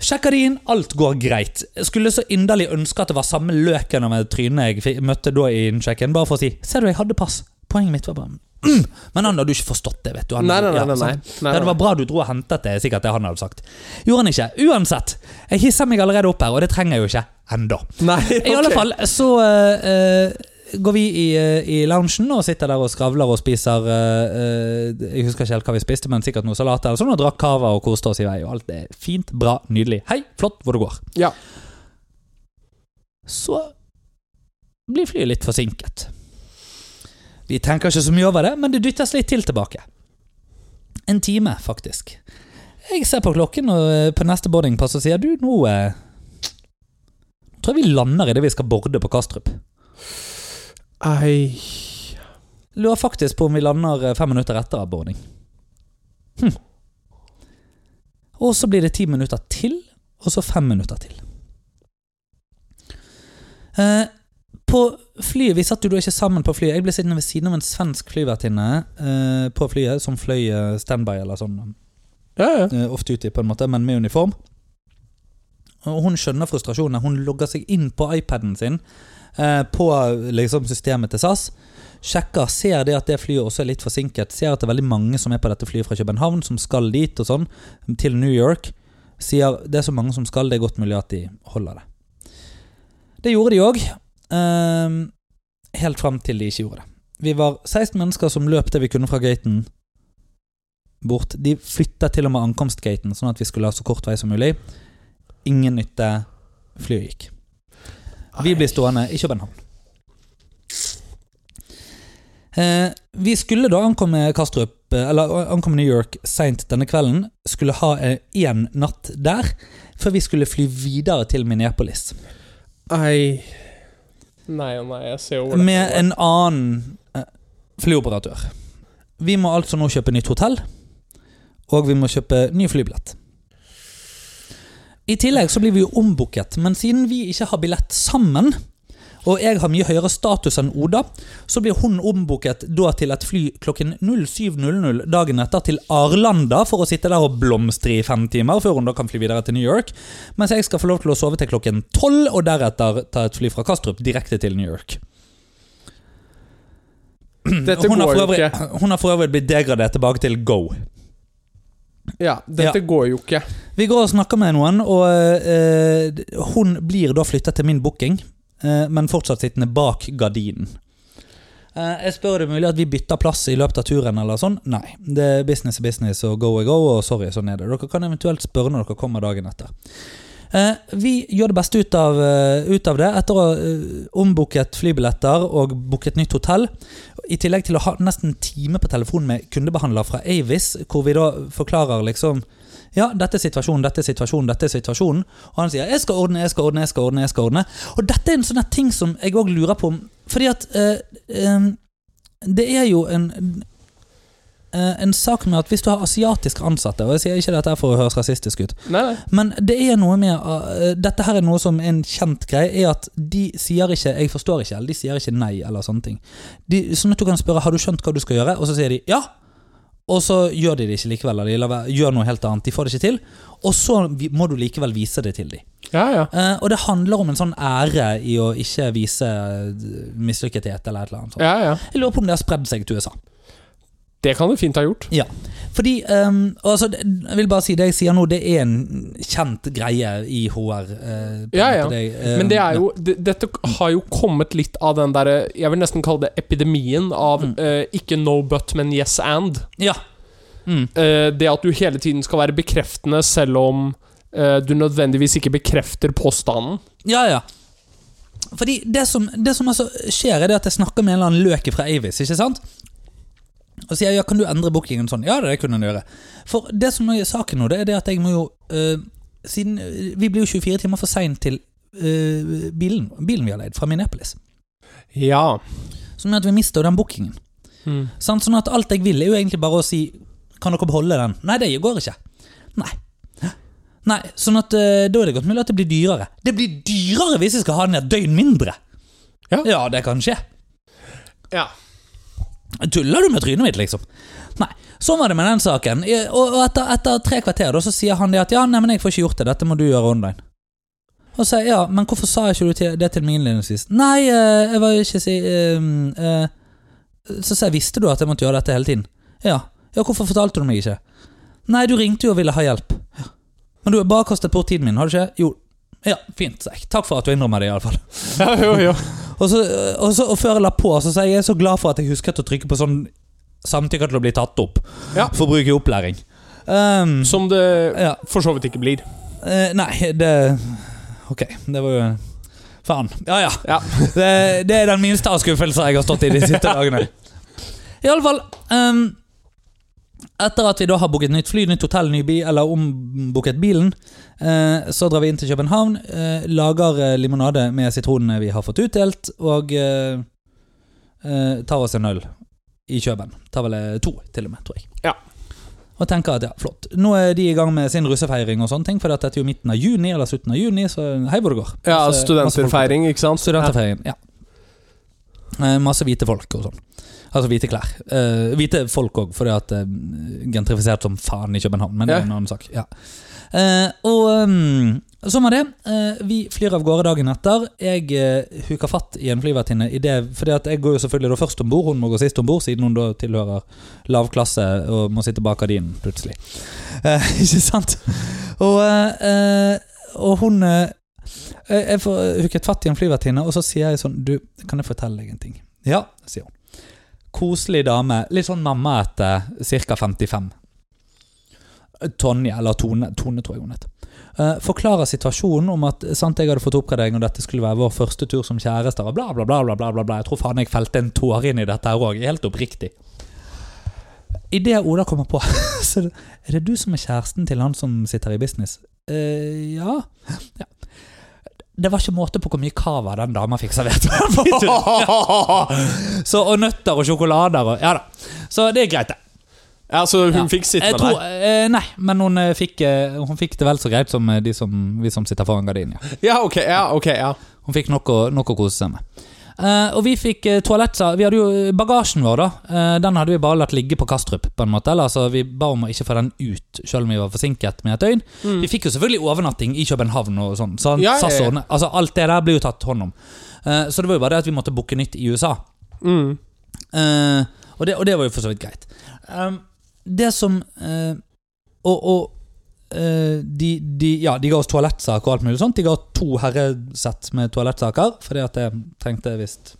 Speaker 2: Sjekker de inn, alt går greit. Skulle så inderlig ønske at det var samme løken av et tryne jeg fi- møtte da i innsjekken, bare for å si 'Ser du, jeg hadde pass'. Poenget mitt var bare <clears throat> «Mm». Men han hadde jo ikke forstått det, vet du. Han,
Speaker 1: Nei, nei, nei, nei, nei.
Speaker 2: sant?
Speaker 1: Nei,
Speaker 2: Ja, det
Speaker 1: nei.
Speaker 2: var bra du dro og hentet det, sikkert det han hadde sagt. Gjorde han ikke. Uansett, jeg hisser meg allerede opp her, og det trenger jeg jo ikke ennå.
Speaker 1: Nei,
Speaker 2: I alle
Speaker 1: ok.
Speaker 2: fall så eh, eh, går vi i, eh, i loungen og sitter der og skravler og spiser eh, eh, Jeg husker ikke helt hva vi spiste, men sikkert noe salat eller sånn, og drakk cava og koste oss i vei. Og alt er fint, bra, nydelig. Hei, flott hvor det går.
Speaker 1: Ja.
Speaker 2: Så blir flyet litt forsinket. Vi tenker ikke så mye over det, men det dyttes litt til tilbake. En time, faktisk. Jeg ser på klokken og eh, på neste boardingpass og sier du, nå eh, tror jeg vi lander idet vi skal borde på Kastrup.
Speaker 1: Ei.
Speaker 2: Lurer faktisk på om vi lander eh, fem minutter etter avboarding. Hm. Og så blir det ti minutter til, og så fem minutter til. Eh, på flyet, Vi satt jo da ikke sammen på flyet. Jeg ble sittende ved siden av en svensk flyvertinne eh, på flyet, som fløy eh, standby eller sånn
Speaker 1: Ja, ja.
Speaker 2: eh, ofte uti, på en måte, men med uniform. Og hun skjønner frustrasjonen. Hun logger seg inn på iPaden sin eh, på liksom, systemet til SAS. Sjekker, ser det at det flyet også er litt forsinket. Ser at det er veldig mange som er på dette flyet fra København, som skal dit og sånn, til New York. Sier det er så mange som skal, det er godt mulig at de holder det. Det gjorde de òg. helt fram til de ikke gjorde det. Vi var 16 mennesker som løp det vi kunne fra gaten bort. De flytta til og med ankomstgaten, sånn at vi skulle ha så kort vei som mulig. Ingen nytte. Flyet gikk. Vi blir stående i København. Eh, vi skulle da ankomme Kastrup, eh, eller eh, ankomme New York seint denne kvelden. Skulle ha én natt der, før vi skulle fly videre til Minneapolis.
Speaker 1: Ei. Nei og nei, jeg ser jo hvordan
Speaker 2: Med en annen eh, flyoperatør. Vi må altså nå kjøpe nytt hotell, og vi må kjøpe ny flybillett. I tillegg så blir vi jo ombooket, men siden vi ikke har billett sammen, og jeg har mye høyere status enn Oda, så blir hun ombooket da til et fly klokken 07.00 dagen etter til Arlanda for å sitte der og blomstre i fem timer før hun da kan fly videre til New York, mens jeg skal få lov til å sove til klokken 12 og deretter ta et fly fra Kastrup direkte til New York.
Speaker 1: Dette
Speaker 2: hun, har
Speaker 1: går
Speaker 2: for
Speaker 1: jo
Speaker 2: øvrig,
Speaker 1: ikke.
Speaker 2: hun har for øvrig blitt degradert tilbake til Go.
Speaker 1: Ja, dette går jo ikke.
Speaker 2: Vi går og snakker med noen, og eh, hun blir da flyttet til min booking, eh, men fortsatt sittende bak gardinen. Eh, jeg spør er det mulig at vi bytter plass i løpet av turen, eller sånn. Nei. Det er business er business, og go er go, og sorry, sånn er det. Dere kan eventuelt spørre når dere kommer dagen etter. Eh, vi gjør det beste ut av, eh, ut av det, etter å ha eh, ombooket flybilletter og booket nytt hotell. I tillegg til å ha nesten en time på telefon med kundebehandler fra Avis, hvor vi da forklarer liksom ja, dette er situasjonen, dette er situasjonen, dette er situasjonen. Og han sier 'jeg skal ordne, jeg skal ordne', jeg skal ordne. jeg skal ordne Og dette er en sånn her ting som jeg òg lurer på om- Fordi at eh, em, det er jo en eh, en sak med at hvis du har asiatiske ansatte Og jeg sier ikke dette her for å høres rasistisk ut,
Speaker 1: Nei, nei.
Speaker 2: men det er noe med eh, Dette her er noe som er en kjent greie, er at de sier ikke 'jeg forstår ikke', eller de sier ikke 'nei', eller sånne ting. De, sånn at du kan spørre 'har du skjønt hva du skal gjøre', og så sier de 'ja'. Og så gjør de det ikke likevel, eller de lar være- gjør noe helt annet. De får det ikke til. Og så vi- må du likevel vise det til dem.
Speaker 1: Ja, ja.
Speaker 2: Eh, og det handler om en sånn ære i å ikke vise eh, mislykkethet eller et eller annet. sånt.
Speaker 1: ja, ja.
Speaker 2: Jeg lurer på om det har spredd seg til USA.
Speaker 1: Det kan det fint ha gjort.
Speaker 2: Ja, fordi ehm, altså, det- Jeg vil bare si det jeg sier nå, det er en kjent greie i HR. eh, på-
Speaker 1: Ja, ja.
Speaker 2: på det, eh,
Speaker 1: Men det er jo, det, dette har jo kommet litt av den derre Jeg vil nesten kalle det epidemien av
Speaker 2: Mm.
Speaker 1: eh, ikke no but, men yes and.
Speaker 2: Ja. Mm.
Speaker 1: Eh, det at du hele tiden skal være bekreftende selv om eh, du nødvendigvis ikke bekrefter påstanden.
Speaker 2: Ja, ja. Fordi det som, det som altså skjer, er det at jeg snakker med en eller annen løke fra Avis. ikke sant? Og sier ja, kan du endre bookingen sånn? Ja, det kunne han gjøre. For det som er saken nå, det er det at jeg må jo eh, siden, eh, Vi blir jo 24 timer for seint til eh, bilen, bilen vi har leid fra Minneapolis.
Speaker 1: Ja.
Speaker 2: Som gjør at vi mister den bookingen.
Speaker 1: Mm.
Speaker 2: Sant? Sånn at alt jeg vil er jo egentlig bare å si Kan dere beholde den? Nei, det går ikke. Nei. Hæ? Nei, sånn at eh, Da er det godt mulig at det blir dyrere. Det blir dyrere hvis jeg skal ha den et døgn mindre!
Speaker 1: Ja.
Speaker 2: det kan skje.
Speaker 1: ja.
Speaker 2: Tuller du med trynet mitt, liksom? Nei. Sånn var det med den saken. Eh, Og og etter, etter tre kvarter da, så sier han det at ja, nei, men jeg får ikke gjort det, dette må du gjøre online. Og så sier jeg ja, men hvorfor sa ikke du til, det til meg innledningsvis? Nei, eh, jeg var jo ikke si eh, eh, Så sa jeg visste du at jeg måtte gjøre dette hele tiden? Ja. Ja, hvorfor fortalte du meg ikke? Nei, du ringte jo og ville ha hjelp. Ja. Men du har bare kastet bort tiden min, har du ikke? Jo. Ja, fint, sa jeg. Takk for at du innrømmer det, iallfall.
Speaker 1: <laughs> ja jo, jo.
Speaker 2: Og, så, eh, og, så, og før jeg la på, så sa jeg jeg er så glad for at jeg husket å trykke på sånn samtykke til å bli tatt opp.
Speaker 1: Ja.
Speaker 2: For bruk i opplæring. Ehm,
Speaker 1: Som det
Speaker 2: ja,
Speaker 1: for så vidt ikke blir.
Speaker 2: eh, nei, det Ok, det var jo Faen. Ja, ja.
Speaker 1: Ja.
Speaker 2: Det, det er den minste av skuffelser jeg har stått i de
Speaker 1: <laughs>
Speaker 2: siste dagene. Iallfall um, Etter at vi da har booket nytt fly, nytt hotell, ny bil, eller ombooket bilen, eh, så drar vi inn til København, eh, lager eh, limonade med sitronene vi har fått utdelt, og eh, eh, tar oss en øl i Køben. Tar vel eh, to, til og med, tror jeg.
Speaker 1: Ja.
Speaker 2: Og tenker at ja, flott. Nå er de i gang med sin russefeiring og sånne ting, for dette er jo midten av juni eller slutten av juni, så hei hvor det går.
Speaker 1: ja
Speaker 2: Så- eh,
Speaker 1: Altså, Studenterfeiring, ikke sant?
Speaker 2: Studenterferien, ja. Eh, Masse hvite folk og sånn. Altså hvite klær. Eh, hvite folk òg, fordi at uh, gentrifisert som faen i København, men det
Speaker 1: Ja.
Speaker 2: er en annen sak. Ja. Eh, og um, sånn var det. Eh, vi flyr av gårde dagen etter. Jeg eh, huker fatt i en flyvertinne i det, fordi at jeg går jo selvfølgelig da først om bord, hun må gå sist om bord, siden hun da tilhører lav klasse og må sitte bak gardinen <laughs> plutselig. Eh, ikke sant? Og, eh, eh, og hun eh, Eh, Jeg får hooket fatt i en flyvertinne, og så sier jeg sånn Du, kan jeg fortelle deg en ting? Ja, sier hun. Koselig dame. Litt sånn mamma etter ca. 55. Tonje, eller Tone, Tone tror jeg hun het. Eh, forklarer situasjonen om at sant, jeg hadde fått oppgradering, og dette skulle være vår første tur som kjærester, og bla, bla, bla. bla, bla, bla, bla. Jeg tror faen jeg felte en tåre inn i dette her òg. Helt oppriktig. Idet Oda kommer på <laughs> så Er det du som er kjæresten til han som sitter i business? Eh, ja. ja. Det var ikke måte på hvor mye cava den dama fikk servert. så, og nøtter og sjokolader og Ja da. Så det er greit, det.
Speaker 1: Ja, så hun
Speaker 2: Ja.
Speaker 1: fikk sitte
Speaker 2: Jeg
Speaker 1: med
Speaker 2: tror, eh, nei, men hun eh, fikk, eh, hun fikk det vel så greit som eh, de som, vi som sitter foran gardinen. Ja.
Speaker 1: deg? Ja, ok. ja, ok, ja
Speaker 2: Hun fikk nok å, nok å kose seg med. Eh, og vi fikk eh, toalettsa Vi hadde jo bagasjen vår, da. eh, den hadde vi bare latt ligge på Kastrup, på en måte. Eller altså, vi ba om å ikke få den ut, selv om vi var forsinket med et døgn. Vi fikk jo selvfølgelig overnatting i København og sånn. sant?
Speaker 1: Mm. Ja, ja, ja.
Speaker 2: SAS ordnet- altså, alt det der ble jo tatt hånd om. Eh, så det var jo bare det at vi måtte booke nytt i USA.
Speaker 1: Mm.
Speaker 2: Eh, og, det, og det var jo for så vidt greit. Um, det som eh, Og, og eh, de, de, ja, de ga oss toalettsaker og alt mulig sånt. De ga to herresett med toalettsaker, fordi at jeg trengte visst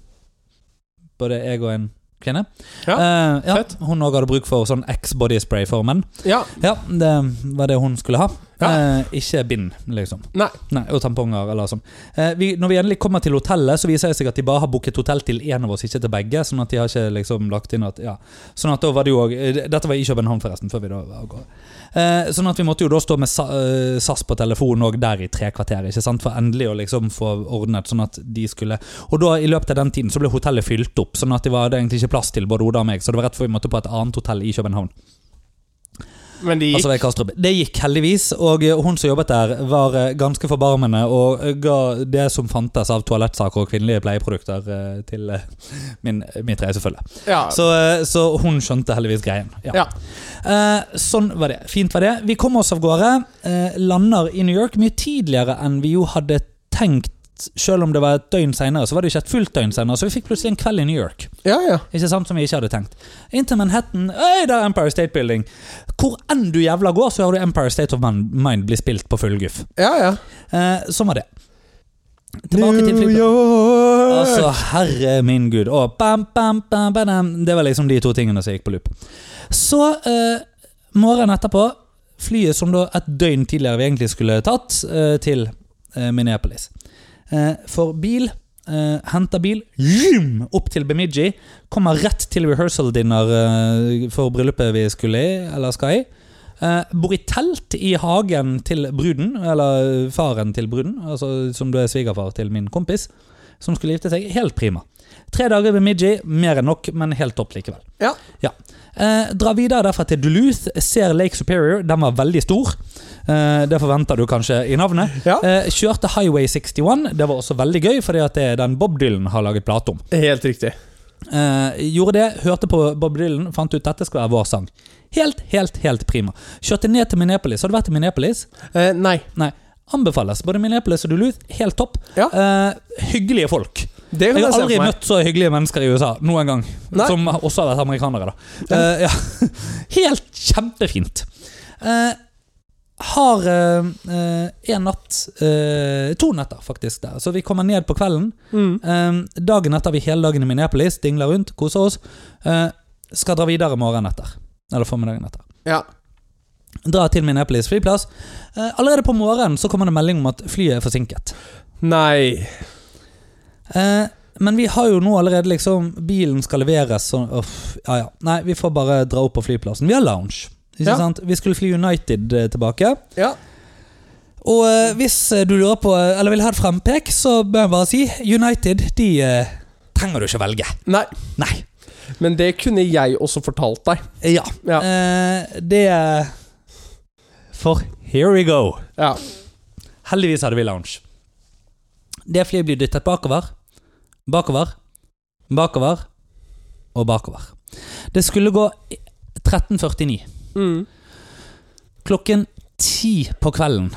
Speaker 2: både jeg og en kvinne.
Speaker 1: Ja,
Speaker 2: Eh, ja,
Speaker 1: fett.
Speaker 2: hun òg hadde bruk for sånn X-body spray for menn.
Speaker 1: Ja,
Speaker 2: Ja, det var det hun skulle ha.
Speaker 1: Ja.
Speaker 2: Eh, ikke bind, liksom.
Speaker 1: Nei.
Speaker 2: og tamponger eller sånn. Eh, vi, når vi endelig kommer til hotellet, så viser det seg at de bare har booket hotell til én av oss, ikke til begge. Sånn at de har ikke liksom lagt inn at ja. Sånn at da var det jo også- eh, Dette var i København, forresten. Før vi da var av gårde. Eh, sånn at vi måtte jo da stå med Sa, eh, SAS på telefonen òg der i tre kvarter, ikke sant? for endelig å liksom få ordnet sånn at de skulle Og da i løpet av den tiden så ble hotellet fylt opp, sånn at det var det egentlig ikke plass til både Oda og meg, så det var rett før vi måtte på et annet hotell i København.
Speaker 1: men de gikk
Speaker 2: Altså, ved Kastrup. Det gikk heldigvis, og eh, hun som jobbet der, var eh, ganske forbarmende og eh, ga det som fantes av toalettsaker og kvinnelige pleieprodukter eh, til eh, min, mitt reisefølge.
Speaker 1: ja.
Speaker 2: Så, eh, så hun skjønte heldigvis greien.
Speaker 1: Ja.
Speaker 2: Eh, sånn var det. Fint var det. Vi kommer oss av gårde. eh, lander i New York mye tidligere enn vi jo hadde tenkt. Selv om det var et døgn senere, så var det jo ikke et fullt døgn senere, så vi fikk plutselig en kveld i New York.
Speaker 1: ja, ja.
Speaker 2: Ikke sant, Som vi ikke hadde tenkt. Inntil Manhattan Øy, der er Empire State Building. Hvor enn du jævla går, så har du Empire State of Man- Mind bli spilt på full guff.
Speaker 1: ja, ja.
Speaker 2: Eh, sånn var det. Tilbake til flyplassen.
Speaker 1: York!
Speaker 2: Altså, herre min gud. Og bam, bam, bam, bam, bam. Det var liksom de to tingene som gikk på loop. Så eh, morgenen etterpå, flyet som da et døgn tidligere vi egentlig skulle tatt, eh, til eh, Minneapolis. Eh, for bil eh, Henter bil, zoom, opp til Bemidji. Kommer rett til rehearsal dinner eh, for bryllupet vi skulle i, eller skal i. Eh, bor i telt i hagen til bruden, eller faren til bruden, altså, som da er svigerfar til min kompis som skulle gifte seg. Helt prima. Tre dager ved Midji, mer enn nok, men helt topp likevel.
Speaker 1: Ja.
Speaker 2: Eh, dra videre derfra til Duluth, ser Lake Superior, den var veldig stor. Eh, det forventer du kanskje i navnet.
Speaker 1: Ja.
Speaker 2: Eh, kjørte Highway 61, det var også veldig gøy, fordi at det er den Bob Dylan har laget plate om.
Speaker 1: <laughs> Helt riktig.
Speaker 2: Eh, gjorde det, hørte på Bob Dylan, fant ut dette skal være vår sang. Helt, helt, helt prima. Kjørte ned til Minneapolis. Har du vært i Minneapolis?
Speaker 1: Eh, nei.
Speaker 2: Nei. Anbefales. Både Minneapolis og Duluth, helt topp.
Speaker 1: Ja.
Speaker 2: Eh, hyggelige folk.
Speaker 1: Det kan
Speaker 2: Jeg
Speaker 1: jeg,
Speaker 2: har
Speaker 1: se
Speaker 2: aldri
Speaker 1: for meg.
Speaker 2: møtt så hyggelige mennesker i USA noen gang.
Speaker 1: Nei.
Speaker 2: Som også har vært amerikanere, da. Eh, ja. <laughs> Helt kjempefint. Eh, har eh, eh, en natt eh, To netter, faktisk, der. Så vi kommer ned på kvelden.
Speaker 1: Mm.
Speaker 2: Eh, dagen etter har vi hele dagen i Minneapolis, dingler rundt, koser oss. Eh, skal dra videre morgenen etter. Eller formiddagen etter.
Speaker 1: Ja.
Speaker 2: Dra til Minneapolis flyplass. Eh, allerede på morgenen så kommer det melding om at flyet er forsinket.
Speaker 1: Nei.
Speaker 2: Eh, men vi har jo nå allerede liksom Bilen skal leveres sånn uff, ja, ja. Nei, vi får bare dra opp på flyplassen. Vi har lounge. Ikke
Speaker 1: Ja.
Speaker 2: sant? Vi skulle fly United eh, tilbake.
Speaker 1: Ja.
Speaker 2: Og eh, hvis eh, du lurer på eh, Eller vil ha et frempek, så bør jeg bare si United, de eh, trenger du ikke velge.
Speaker 1: Nei.
Speaker 2: Nei.
Speaker 1: Men det kunne jeg også fortalt deg.
Speaker 2: Eh, Ja.
Speaker 1: Ja.
Speaker 2: Eh, det eh, For here we go.
Speaker 1: Ja.
Speaker 2: Heldigvis hadde vi lounge. Det flyet blir dyttet bakover, bakover, bakover og bakover. Det skulle gå 13.49.
Speaker 1: Mm.
Speaker 2: Klokken ti på kvelden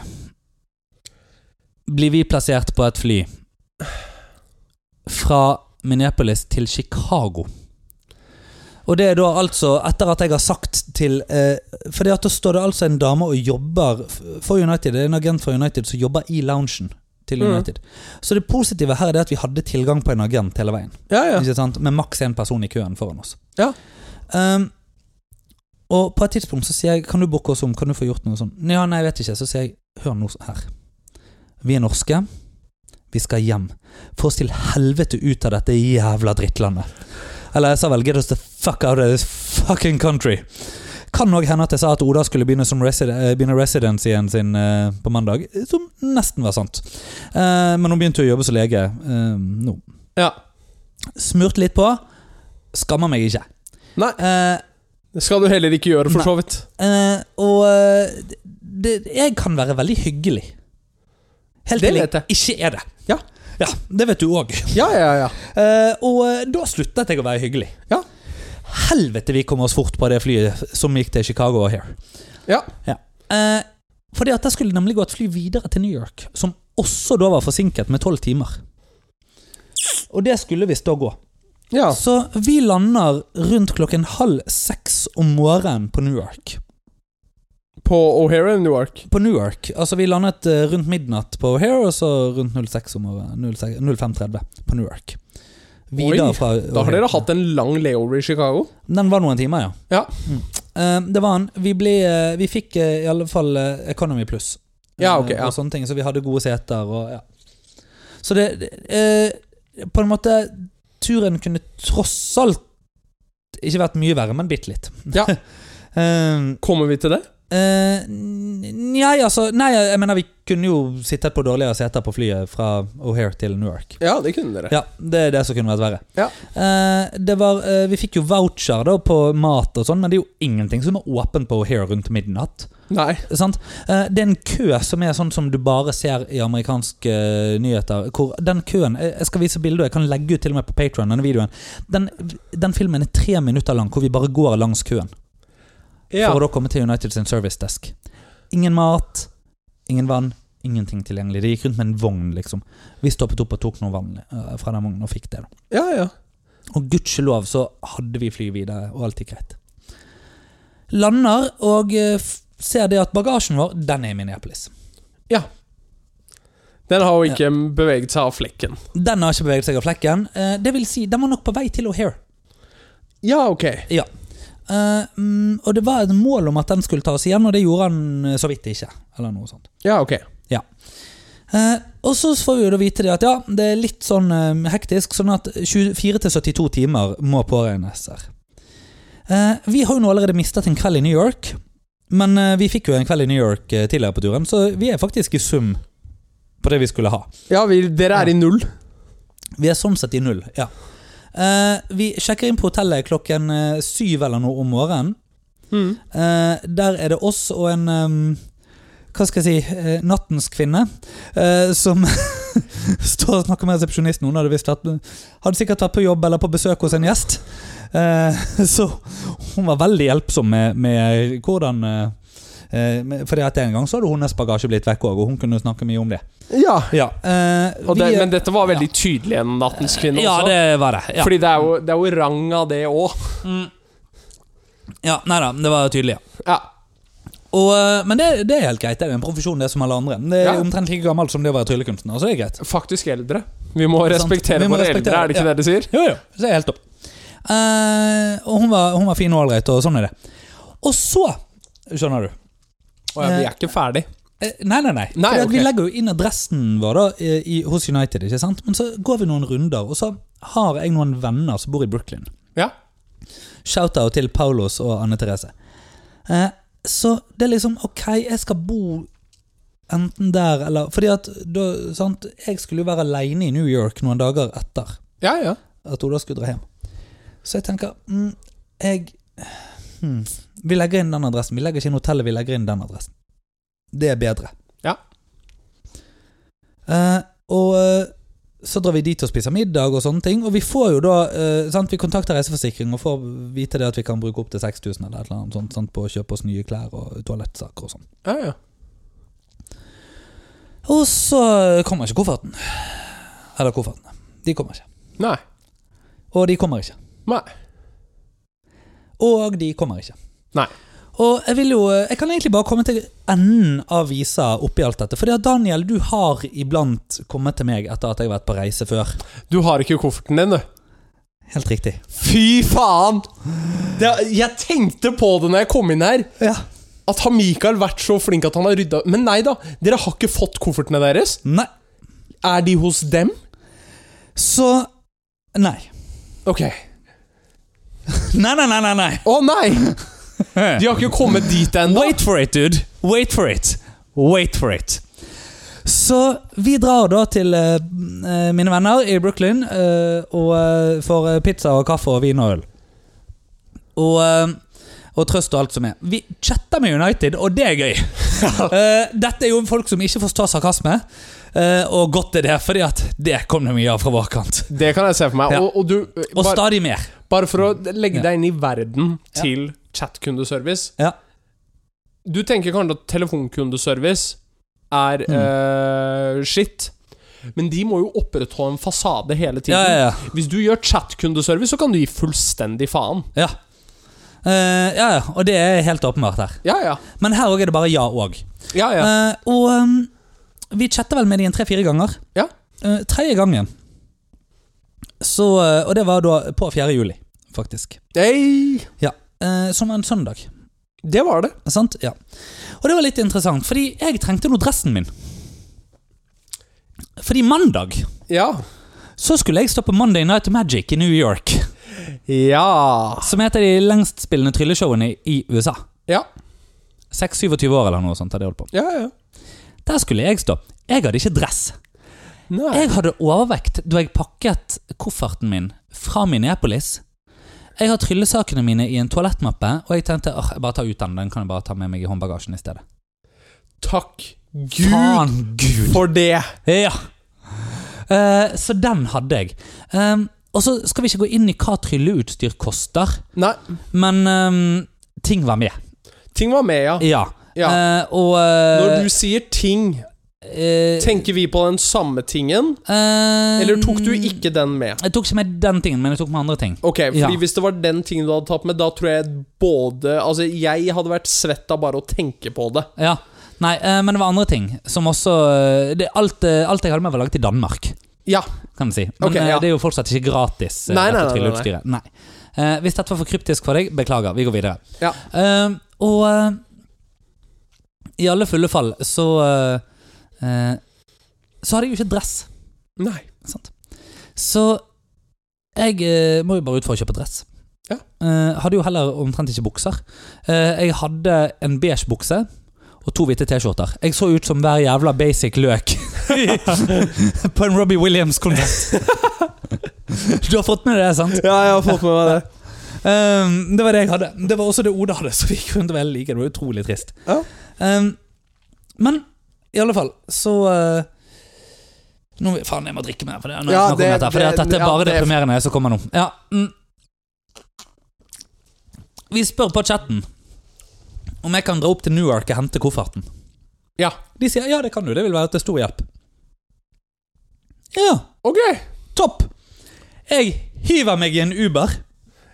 Speaker 2: blir vi plassert på et fly fra Minneapolis til Chicago. Og det er da altså etter at jeg har sagt til eh, For da står det altså en dame og jobber f- for United. Det er en agent fra United som jobber i loungen til
Speaker 1: Mhm.
Speaker 2: United. Så det positive her er det at vi hadde tilgang på en agent hele veien.
Speaker 1: Ja, ja.
Speaker 2: Ikke sant? Med maks én person i køen foran oss.
Speaker 1: Ja.
Speaker 2: Ehm, og på et tidspunkt så sier jeg Kan du booke oss om, kan du få gjort noe sånt? Ja, nei, jeg vet ikke. Så sier jeg Hør nå her. Vi er norske. Vi skal hjem. Få oss til helvete ut av dette jævla drittlandet. Eller jeg sa vel Get us the fuck out of this fucking country. Kan òg hende at jeg sa at Oda skulle begynne, som resi- eh, begynne residencyen sin eh, på mandag. Som nesten var sant. Eh, men hun begynte jo å jobbe som lege eh, nå.
Speaker 1: ja.
Speaker 2: Smurt litt på. Skammer meg ikke.
Speaker 1: Nei,
Speaker 2: Eh,
Speaker 1: det skal du heller ikke gjøre, for
Speaker 2: Nei.
Speaker 1: så vidt.
Speaker 2: eh, og eh, det, jeg kan være veldig hyggelig. Helt
Speaker 1: Det
Speaker 2: til
Speaker 1: vet jeg.
Speaker 2: ikke er det.
Speaker 1: Ja.
Speaker 2: Ja, Det vet du òg.
Speaker 1: Ja, ja, ja.
Speaker 2: Eh, og eh, da sluttet jeg å være hyggelig.
Speaker 1: Ja.
Speaker 2: Helvete, vi kom oss fort på det flyet som gikk til Chicago og here.
Speaker 1: Ja.
Speaker 2: Eh, fordi at der skulle nemlig gå et fly videre til New York, som også da var forsinket med tolv timer. Og det skulle visst da gå.
Speaker 1: ja.
Speaker 2: Så vi lander rundt klokken halv seks om morgenen på Newark.
Speaker 1: På O'Hare i Newark.
Speaker 2: På Newark, altså Vi landet eh, rundt midnatt på O'Hare, og så rundt 06 om morgenen, 06 05.30 på Newark. Videre
Speaker 1: Oi,
Speaker 2: fra
Speaker 1: Da har dere hatt en lang layover i Chicago.
Speaker 2: Den var noen timer, ja.
Speaker 1: Ja.
Speaker 2: Mm. Eh, det var han. Vi, ble, eh, vi fikk eh, i alle fall eh, Economy Plus.
Speaker 1: Ja, ok,
Speaker 2: Eh,
Speaker 1: ja.
Speaker 2: Og sånne ting, så vi hadde gode seter og ja. Så det, det eh, På en måte Turen kunne tross alt ikke vært mye verre, men bitte litt. <laughs>
Speaker 1: Ja.
Speaker 2: Eh,
Speaker 1: Kommer vi til det?
Speaker 2: eh, Nei, altså Nei, jeg mener vi kunne jo sittet på dårligere seter på flyet fra O'Hare til Newark.
Speaker 1: Ja, det kunne dere.
Speaker 2: Ja, det er det som kunne vært verre.
Speaker 1: Ja.
Speaker 2: Eh, det var, eh, vi fikk jo voucher da på mat og sånn, men det er jo ingenting som er åpent på O'Hare rundt midnatt.
Speaker 1: Nei.
Speaker 2: Sant? Eh, det er en kø som er sånn som du bare ser i amerikanske eh, nyheter. Hvor den køen eh, Jeg skal vise bilder, jeg kan legge ut til og med på Patron denne videoen. Den, den filmen er tre minutter lang, hvor vi bare går langs køen
Speaker 1: Ja.
Speaker 2: for å da komme til United sin service desk. Ingen mat, ingen vann, ingenting tilgjengelig. De gikk rundt med en vogn, liksom. Vi stoppet opp og tok noe vann eh, fra den vognen og fikk det. da
Speaker 1: ja, ja.
Speaker 2: og gudskjelov så hadde vi fly videre, og alt gikk greit. Lander og eh, f- ser det at bagasjen vår, den er i Minneapolis.
Speaker 1: Den har jo ikke beveget seg av flekken.
Speaker 2: Den har ikke beveget seg av flekken. Eh, Det vil si, den var nok på vei til O'Hare.
Speaker 1: Ja, ok.
Speaker 2: Eh, mm, og det var et mål om at den skulle ta oss igjen, og det gjorde han eh, så vidt ikke. Eller noe sånt.
Speaker 1: Ja, ok.
Speaker 2: Eh, og så får vi jo da vite det at ja, det er litt sånn eh, hektisk, sånn at 24 til 72 timer må påregnes her. Eh, vi har jo nå allerede mistet en kveld i New York, men eh, vi fikk jo en kveld i New York eh, tidligere på turen, så vi er faktisk i sum på det vi skulle ha.
Speaker 1: Ja, vi, dere er i null.
Speaker 2: Vi er sånn sett i null, ja. Eh, vi sjekker inn på hotellet klokken eh, syv eller noe om morgenen.
Speaker 1: Mm.
Speaker 2: Eh, der er det oss og en ehm, Hva skal jeg si eh, Nattens kvinne. eh, som <laughs> står og snakker med resepsjonisten. Hun hadde, visst vært, hadde sikkert vært på jobb eller på besøk hos en gjest. Eh, <laughs> så hun var veldig hjelpsom med, med hvordan eh, eh, med- fordi at En gang så hadde hennes bagasje blitt vekk òg, og hun kunne snakke mye om det.
Speaker 1: Ja.
Speaker 2: Eh,
Speaker 1: Og det,
Speaker 2: vi-
Speaker 1: men dette var veldig tydelig en Nattens kvinne
Speaker 2: ja,
Speaker 1: også.
Speaker 2: det var det. Ja.
Speaker 1: Fordi det er jo, det er jo rang av det òg.
Speaker 2: ja, Nei da, det var tydelig. ja
Speaker 1: Ja.
Speaker 2: Og, eh, men det, det er helt greit. Det er en profesjon, det er som alle andre. Det er
Speaker 1: Ja.
Speaker 2: omtrent like gammelt som det å være tryllekunstner. Så det er greit.
Speaker 1: Faktisk eldre. Vi må
Speaker 2: Det er sant.
Speaker 1: respektere
Speaker 2: Vi må
Speaker 1: våre eldre,
Speaker 2: respektere,
Speaker 1: er det ikke
Speaker 2: ja.
Speaker 1: det de sier?
Speaker 2: Jo, jo. Så det er helt topp. Eh, og hun var, hun var fin og ålreit, og sånn er det. Og så, skjønner du
Speaker 1: Å ja, vi er ikke ferdig.
Speaker 2: Eh, Nei, nei, nei.
Speaker 1: Nei,
Speaker 2: Fordi at
Speaker 1: ok.
Speaker 2: Vi legger jo inn adressen vår da, i, i, hos United, ikke sant? men så går vi noen runder, og så har jeg noen venner som bor i Brooklyn.
Speaker 1: Ja.
Speaker 2: Shout-out til Paulos og Anne Therese. Eh, så det er liksom Ok, jeg skal bo enten der eller Fordi at da, sant, jeg skulle jo være aleine i New York noen dager etter
Speaker 1: Ja, ja.
Speaker 2: at Oda skulle dra hjem. Så jeg tenker mm, jeg, hmm, Vi legger inn den adressen. Vi legger ikke inn hotellet, vi legger inn den adressen. Det er bedre.
Speaker 1: Ja.
Speaker 2: Eh, og eh, så drar vi dit og spiser middag og sånne ting. Og vi får jo da eh, sant, Vi kontakter reiseforsikring og får vite det at vi kan bruke opptil 6000 eller et eller annet sånt, sant, på å kjøpe oss nye klær og toalettsaker og sånn.
Speaker 1: ja, ja.
Speaker 2: Og så kommer ikke kofferten. Eller koffertene. De kommer ikke.
Speaker 1: Nei.
Speaker 2: Og de kommer ikke.
Speaker 1: Nei.
Speaker 2: Og de kommer ikke.
Speaker 1: Nei.
Speaker 2: Og jeg vil jo, jeg kan egentlig bare komme til enden av visa oppi alt dette. Fordi at Daniel, du har iblant kommet til meg etter at jeg har vært på reise før.
Speaker 1: Du har ikke kofferten din, du.
Speaker 2: Helt riktig.
Speaker 1: Fy faen! Det, jeg tenkte på det når jeg kom inn her.
Speaker 2: Ja.
Speaker 1: At har Mikael vært så flink at han har rydda Men nei da, dere har ikke fått koffertene deres.
Speaker 2: Nei.
Speaker 1: Er de hos dem?
Speaker 2: Så Nei.
Speaker 1: Ok.
Speaker 2: Nei, nei, nei, nei. nei.
Speaker 1: Å
Speaker 2: <laughs>
Speaker 1: nei! De har ikke kommet dit ennå.
Speaker 2: Wait for it, dude. Wait for it. Wait for it. Så vi drar da til eh, eh, mine venner i Brooklyn eh, og eh, får eh, pizza og kaffe og vin og øl. Og, eh, og trøst og alt som er. Vi chatter med United, og det er
Speaker 1: <laughs>
Speaker 2: gøy. Eh, dette er jo folk som ikke forstår sarkasme, eh, og godt er det, fordi at det kom det mye av fra vår kant.
Speaker 1: Det kan jeg se for meg.
Speaker 2: Ja.
Speaker 1: Og, og du,
Speaker 2: Og
Speaker 1: bare,
Speaker 2: stadig mer.
Speaker 1: bare for å legge
Speaker 2: Ja.
Speaker 1: deg inn i verden til chatkundeservice
Speaker 2: Ja.
Speaker 1: Du tenker kanskje at telefonkundeservice er
Speaker 2: Mm.
Speaker 1: eh, shit, men de må jo opprettholde en fasade hele tiden.
Speaker 2: Ja, ja, ja.
Speaker 1: Hvis du gjør chatkundeservice, så kan du gi fullstendig faen.
Speaker 2: ja. Eh, ja, ja. Og det er helt åpenbart her.
Speaker 1: Ja, ja.
Speaker 2: Men her òg er det bare ja og.
Speaker 1: ja, ja.
Speaker 2: Eh, og ehm, vi chatter vel med dem tre-fire ganger.
Speaker 1: Ja.
Speaker 2: Eh, tredje gangen så, eh, Og det var da på 4. juli, faktisk.
Speaker 1: Nei,
Speaker 2: Ja. eh, som var en søndag.
Speaker 1: det var det.
Speaker 2: Sant? Ja. Og det var litt interessant, fordi jeg trengte nå dressen min. Fordi mandag
Speaker 1: Ja.
Speaker 2: så skulle jeg stå på Monday Night Magic i New York.
Speaker 1: Ja.
Speaker 2: Som er et av de lengstspillende trylleshowene i USA.
Speaker 1: Ja,
Speaker 2: 6-27 år eller noe sånt. hadde jeg holdt på
Speaker 1: ja. ja.
Speaker 2: Der skulle jeg stå. Jeg hadde ikke dress.
Speaker 1: Nei.
Speaker 2: Jeg hadde overvekt da jeg pakket kofferten min fra Minneapolis. Jeg har tryllesakene mine i en toalettmappe, og jeg tenkte «Åh, jeg bare tar ut den. Den kan jeg bare ta med meg i håndbagasjen i stedet.
Speaker 1: Takk Gud
Speaker 2: Faen Gud!
Speaker 1: for det.
Speaker 2: Ja. Eh, så den hadde jeg. Ehm, og så skal vi ikke gå inn i hva trylleutstyr koster,
Speaker 1: Nei,
Speaker 2: men ehm, ting var med.
Speaker 1: ting var med, ja.
Speaker 2: Ja.
Speaker 1: ja.
Speaker 2: Eh, og
Speaker 1: Når du sier ting,
Speaker 2: eh,
Speaker 1: tenker vi på den samme tingen,
Speaker 2: eh,
Speaker 1: eller tok du ikke den med?
Speaker 2: Jeg tok ikke med den tingen, men jeg tok med andre ting.
Speaker 1: Ok, fordi
Speaker 2: Ja.
Speaker 1: Hvis det var den tingen du hadde tatt med, da tror jeg både Altså, jeg hadde vært svett av bare å tenke på det.
Speaker 2: Ja, Nei, eh, men det var andre ting som også eh, det, alt, eh, alt jeg hadde med, var laget i Danmark.
Speaker 1: Ja.
Speaker 2: Kan jeg si. Men
Speaker 1: Ok,
Speaker 2: eh,
Speaker 1: ja.
Speaker 2: det er jo fortsatt ikke gratis. eh,
Speaker 1: Nei, nei,
Speaker 2: dette
Speaker 1: nei, nei, nei.
Speaker 2: trylleutstyret. nei. Eh, hvis dette var for kryptisk for deg, beklager. Vi går videre.
Speaker 1: Ja.
Speaker 2: Eh, og eh, i alle fulle fall så eh, eh, Så hadde jeg jo ikke dress.
Speaker 1: Nei.
Speaker 2: Sant? Så jeg eh, må jo bare ut for å kjøpe dress.
Speaker 1: Ja.
Speaker 2: Eh, hadde jo heller omtrent ikke bukser. Eh, jeg hadde en beige bukse og to hvite T-skjorter. Jeg så ut som hver jævla basic løk <laughs> på en Robbie Williams-konsert. du har fått med deg det, sant?
Speaker 1: Ja, jeg har fått med meg det.
Speaker 2: Ehm, det var det jeg hadde. Det var også det Oda hadde, så vi kunne vel like det. Det var utrolig trist.
Speaker 1: Ja.
Speaker 2: Ehm, men i alle fall, så eh, nå, vil- Faen, jeg må drikke mer, for det, når jeg
Speaker 1: Ja,
Speaker 2: snakker
Speaker 1: det-
Speaker 2: om dette, for det, at
Speaker 1: det-
Speaker 2: dette er
Speaker 1: ja,
Speaker 2: bare
Speaker 1: det-
Speaker 2: deprimerende som kommer nå. Ja, mm. Vi spør på chatten om jeg kan dra opp til Newark og hente kofferten.
Speaker 1: Ja.
Speaker 2: De sier ja, det kan du. Det vil være til stor hjelp. Ja,
Speaker 1: Ok.
Speaker 2: topp! Jeg hiver meg i en Uber.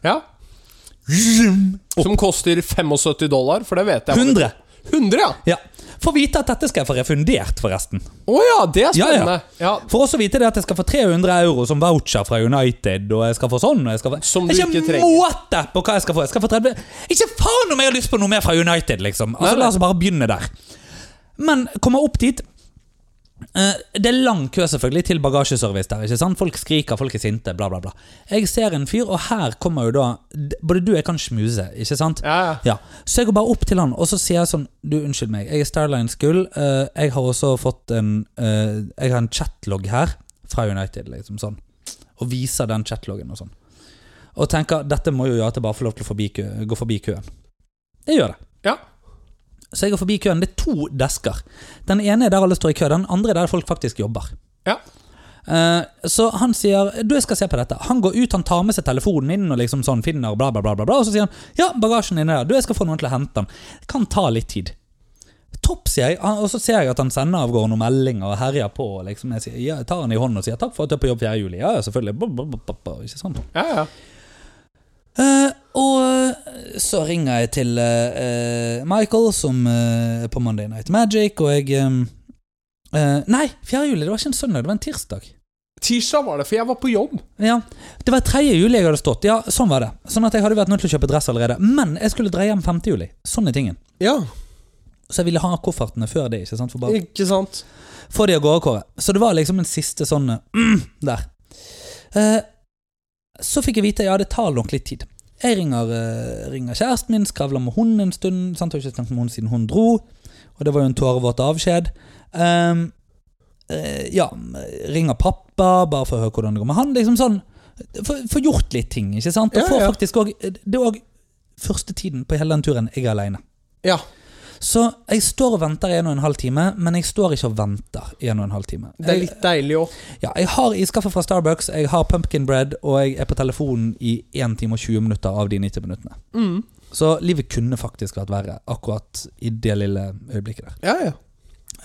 Speaker 1: Ja. Som koster 75 dollar, for det vet jeg.
Speaker 2: 100.
Speaker 1: 100, ja.
Speaker 2: Ja. Få vite at dette skal jeg få refundert, forresten.
Speaker 1: Å ja, det er
Speaker 2: Ja, ja.
Speaker 1: spennende. Ja,
Speaker 2: For også vite det at jeg skal få 300 euro som voucher fra United, og jeg skal få sånn og jeg skal få...
Speaker 1: Som du
Speaker 2: Det er
Speaker 1: ikke trenger.
Speaker 2: måte på hva jeg skal få. Jeg skal få 30... Ikke faen om jeg har lyst på noe mer fra United, liksom. Altså,
Speaker 1: Nei, nei.
Speaker 2: La oss bare begynne der. Men kommer opp dit. Eh, Det er lang kø selvfølgelig til bagasjeservice der. ikke sant? Folk skriker, folk er sinte, bla, bla, bla. Jeg ser en fyr, og her kommer jo da Både du og jeg kan smuse, ikke sant?
Speaker 1: ja. ja.
Speaker 2: Ja, Så jeg går bare opp til han, og så sier jeg sånn Du, unnskyld meg, jeg er Starlines gull. eh, jeg har også fått en eh, Jeg har en chatlog her fra United, liksom sånn. Og viser den chatloggen og sånn. Og tenker dette må jo gjøre at jeg bare får lov til å forbi kø, gå forbi køen. Det gjør det.
Speaker 1: Ja.
Speaker 2: Så jeg går forbi køen. Det er to desker. Den ene er der alle står i kø, den andre er der folk faktisk jobber.
Speaker 1: Ja.
Speaker 2: Eh, så han sier du jeg skal se på dette. Han går ut, han tar med seg telefonen inn og liksom sånn finner bla, bla, bla, bla, bla. Og så sier han ja, bagasjen din er der. Du, jeg skal få noen til å hente den. Det kan ta litt tid. Topp, sier jeg. Han- Og så ser jeg at han sender av gårde noen meldinger og herjer på. Og liksom, jeg, sier, ja, jeg tar han i hånden og sier takk for at du er på jobb 4. juli. Ja, ja, selvfølgelig. Bla, bla, bla, bla, bla. Ikke sant?
Speaker 1: ja, ja.
Speaker 2: Eh, og så ringer jeg til eh, eh, Michael, som eh, er på Monday Night Magic, og jeg eh, eh, Nei, 4. juli, det var ikke en søndag, det var en tirsdag.
Speaker 1: Tirsdag var det, for jeg var på jobb.
Speaker 2: Ja, Det var 3. juli jeg hadde stått. Ja, sånn var det. Sånn at jeg hadde vært nødt til å kjøpe dress allerede. Men jeg skulle dra hjem 5. juli. Sånn er tingen.
Speaker 1: Ja,
Speaker 2: Så jeg ville ha koffertene før det, ikke sant? For bare
Speaker 1: ikke sant?
Speaker 2: få de av gårde, Kåre. Så det var liksom en siste sånn eh, mm, der. Eh, så fikk jeg vite ja, det tar nok litt tid. Jeg ringer, eh, ringer kjæresten min, skravler med hun en stund. Sant? Jeg har ikke snakket med hun siden hun dro, og det var jo en tårevåt avskjed. Ehm, eh, ja, ringer pappa, bare for å høre hvordan det går med han. Liksom sånn. Få få gjort litt ting, ikke sant? Og
Speaker 1: Ja,
Speaker 2: får
Speaker 1: ja.
Speaker 2: faktisk også, eh, det er òg første tiden på hele den turen jeg er aleine.
Speaker 1: Ja.
Speaker 2: Så jeg står og venter i en og en halv time, men jeg står ikke og venter i en og en halv time.
Speaker 1: Det er
Speaker 2: Jeg,
Speaker 1: litt deilig òg.
Speaker 2: ja, jeg har iskaffe fra Starbucks, jeg har pumpkin bread, og jeg er på telefonen i 1 time og 20 minutter av de 90 minuttene.
Speaker 1: Mm.
Speaker 2: Så livet kunne faktisk vært verre akkurat i det lille øyeblikket der.
Speaker 1: Ja,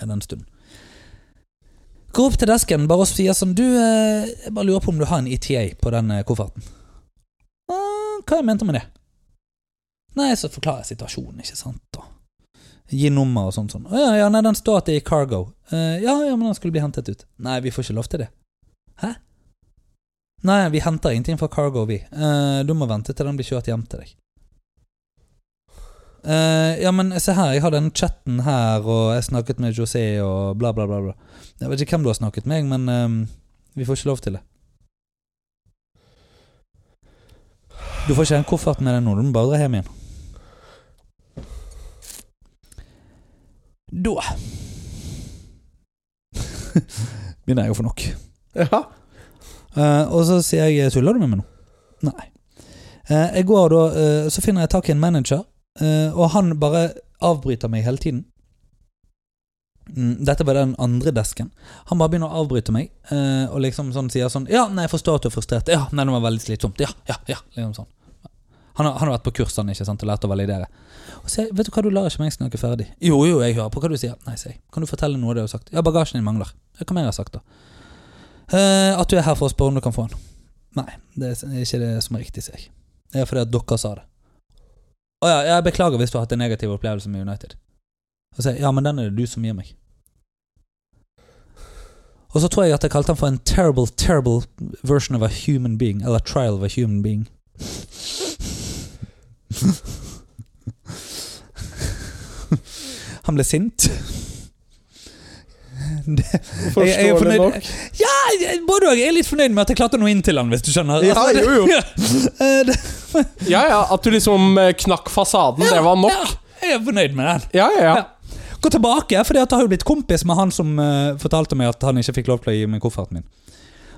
Speaker 1: ja.
Speaker 2: Den stunden. Går opp til desken bare og sier sånn Du, eh, jeg bare lurer på om du har en ETA på den eh, kofferten. «Ah, Hva jeg mente med det? Nei, så forklarer jeg situasjonen, ikke sant. Og gi nummer og sånn. sånn. Å ja, ja, nei, den står at det er i cargo. «Eh, ja, ja, men den skulle bli hentet ut. Nei, vi får ikke lov til det. Hæ? Nei, vi henter ingenting fra cargo, vi. «Eh, du må vente til den blir kjørt hjem til deg. «Eh, ja, men se her, jeg har den chatten her, og jeg snakket med José, og bla, bla, bla. bla. Jeg vet ikke hvem du har snakket med, men eh, vi får ikke lov til det. Du får ikke en koffert med deg nå, du må bare dra hjem igjen. Da <laughs> Begynner jeg å få nok.
Speaker 1: ja.
Speaker 2: Eh, og så sier jeg 'tuller du med meg nå?' Nei. Eh, jeg går da, eh, Så finner jeg tak i en manager, eh, og han bare avbryter meg hele tiden. Mm, dette var den andre desken. Han bare begynner å avbryte meg eh, og liksom sånn sier sånn 'Ja, nei, jeg forstår at du er frustrert. Ja, nei, det var veldig slitsomt. Ja, ja, ja.' Liksom sånn. Han har, han har vært på kurs han, ikke sant, og lært å validere. Og så sier jeg, 'Vet du hva, du lar ikke meg snakke ferdig.' 'Jo, jo, jeg hører på hva du sier.' 'Nei, sier jeg. Kan du fortelle noe av det du har sagt?' 'Ja, bagasjen din mangler.' Ja, 'Hva mer har jeg sagt, da?' Eh, at du er her for å spørre om du kan få den. Nei, det er ikke det som er riktig, sier jeg. Det er fordi at dere sa det. Å ja, jeg beklager hvis du har hatt en negativ opplevelse med United. Og så sier jeg, ja, men den er det du som gir meg. Og så tror jeg at jeg kalte han for en terrible, terrible version of a human being. Eller trial of a human being. <laughs> Han ble sint. jeg er
Speaker 1: Forståelig
Speaker 2: fornøyd.
Speaker 1: nok.
Speaker 2: Nei, jeg- både og. Jeg er litt fornøyd med at jeg klarte noe inn til han, hvis du skjønner.
Speaker 1: Ja,
Speaker 2: Altså, det-
Speaker 1: jo,
Speaker 2: <laughs>
Speaker 1: jo.
Speaker 2: Eh, det,
Speaker 1: Ja, ja. At du liksom eh, knakk fasaden, det var nok.
Speaker 2: ja, jeg er fornøyd med den.
Speaker 1: Ja, ja, ja.
Speaker 2: Ja. Gå tilbake, for jeg har jo blitt kompis med han som eh, fortalte meg at han ikke fikk lov til å gi meg kofferten min.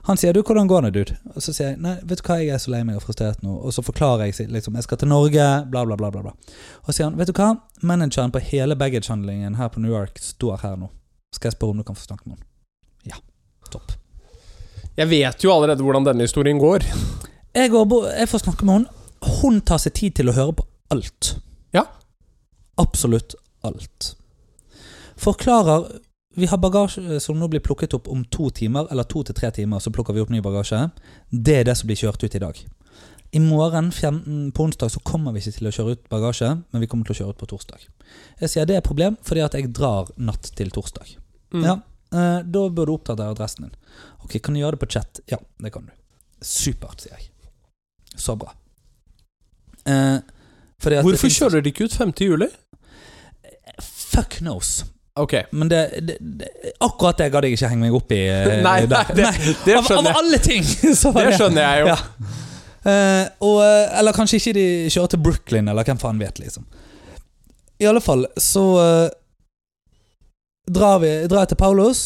Speaker 2: Han sier 'du, hvordan går det, dude?' Og så sier jeg 'nei, vet du hva, jeg er så lei meg og frustrert nå', og så forklarer jeg sier, liksom 'jeg skal til Norge', bla, bla, bla, bla. bla. Og så sier han 'vet du hva, manageren på hele baggage-handlingen her på New York står her nå', skal jeg spørre om du kan få snakke med noen? Ja. Topp.
Speaker 1: Jeg vet jo allerede hvordan denne historien går.
Speaker 2: Jeg, går, bo- jeg får snakke med hun. Hun tar seg tid til å høre på alt.
Speaker 1: Ja.
Speaker 2: Absolutt alt. Forklarer Vi har bagasje som nå blir plukket opp om to timer, eller to til tre timer, så plukker vi opp ny bagasje. Det er det som blir kjørt ut i dag. I morgen, 15, på onsdag, så kommer vi ikke til å kjøre ut bagasje, men vi kommer til å kjøre ut på torsdag. Jeg sier det er et problem, fordi at jeg drar natt til torsdag.
Speaker 1: Mm.
Speaker 2: Ja, eh, Da bør du oppdage adressen din. Ok, Kan du gjøre det på chat? Ja, det kan du. Supert, sier jeg. Så bra. Eh, fordi at det
Speaker 1: Hvorfor
Speaker 2: finnes-
Speaker 1: kjører de ikke ut 5. juli?
Speaker 2: Fuck knows.
Speaker 1: Ok.
Speaker 2: Men det, det, det, akkurat det gadd jeg ikke henge meg opp i.
Speaker 1: <laughs> <laughs> Nei,
Speaker 2: eh,
Speaker 1: nei,
Speaker 2: der.
Speaker 1: det, det
Speaker 2: av, av
Speaker 1: skjønner jeg.
Speaker 2: alle ting! <laughs> Så var
Speaker 1: Det skjønner jeg jo.
Speaker 2: Ja. Eh, og, eh, eller kanskje ikke de kjører til Brooklyn, eller hvem faen vet, liksom. I alle fall så eh, drar, vi, drar jeg til Paulos,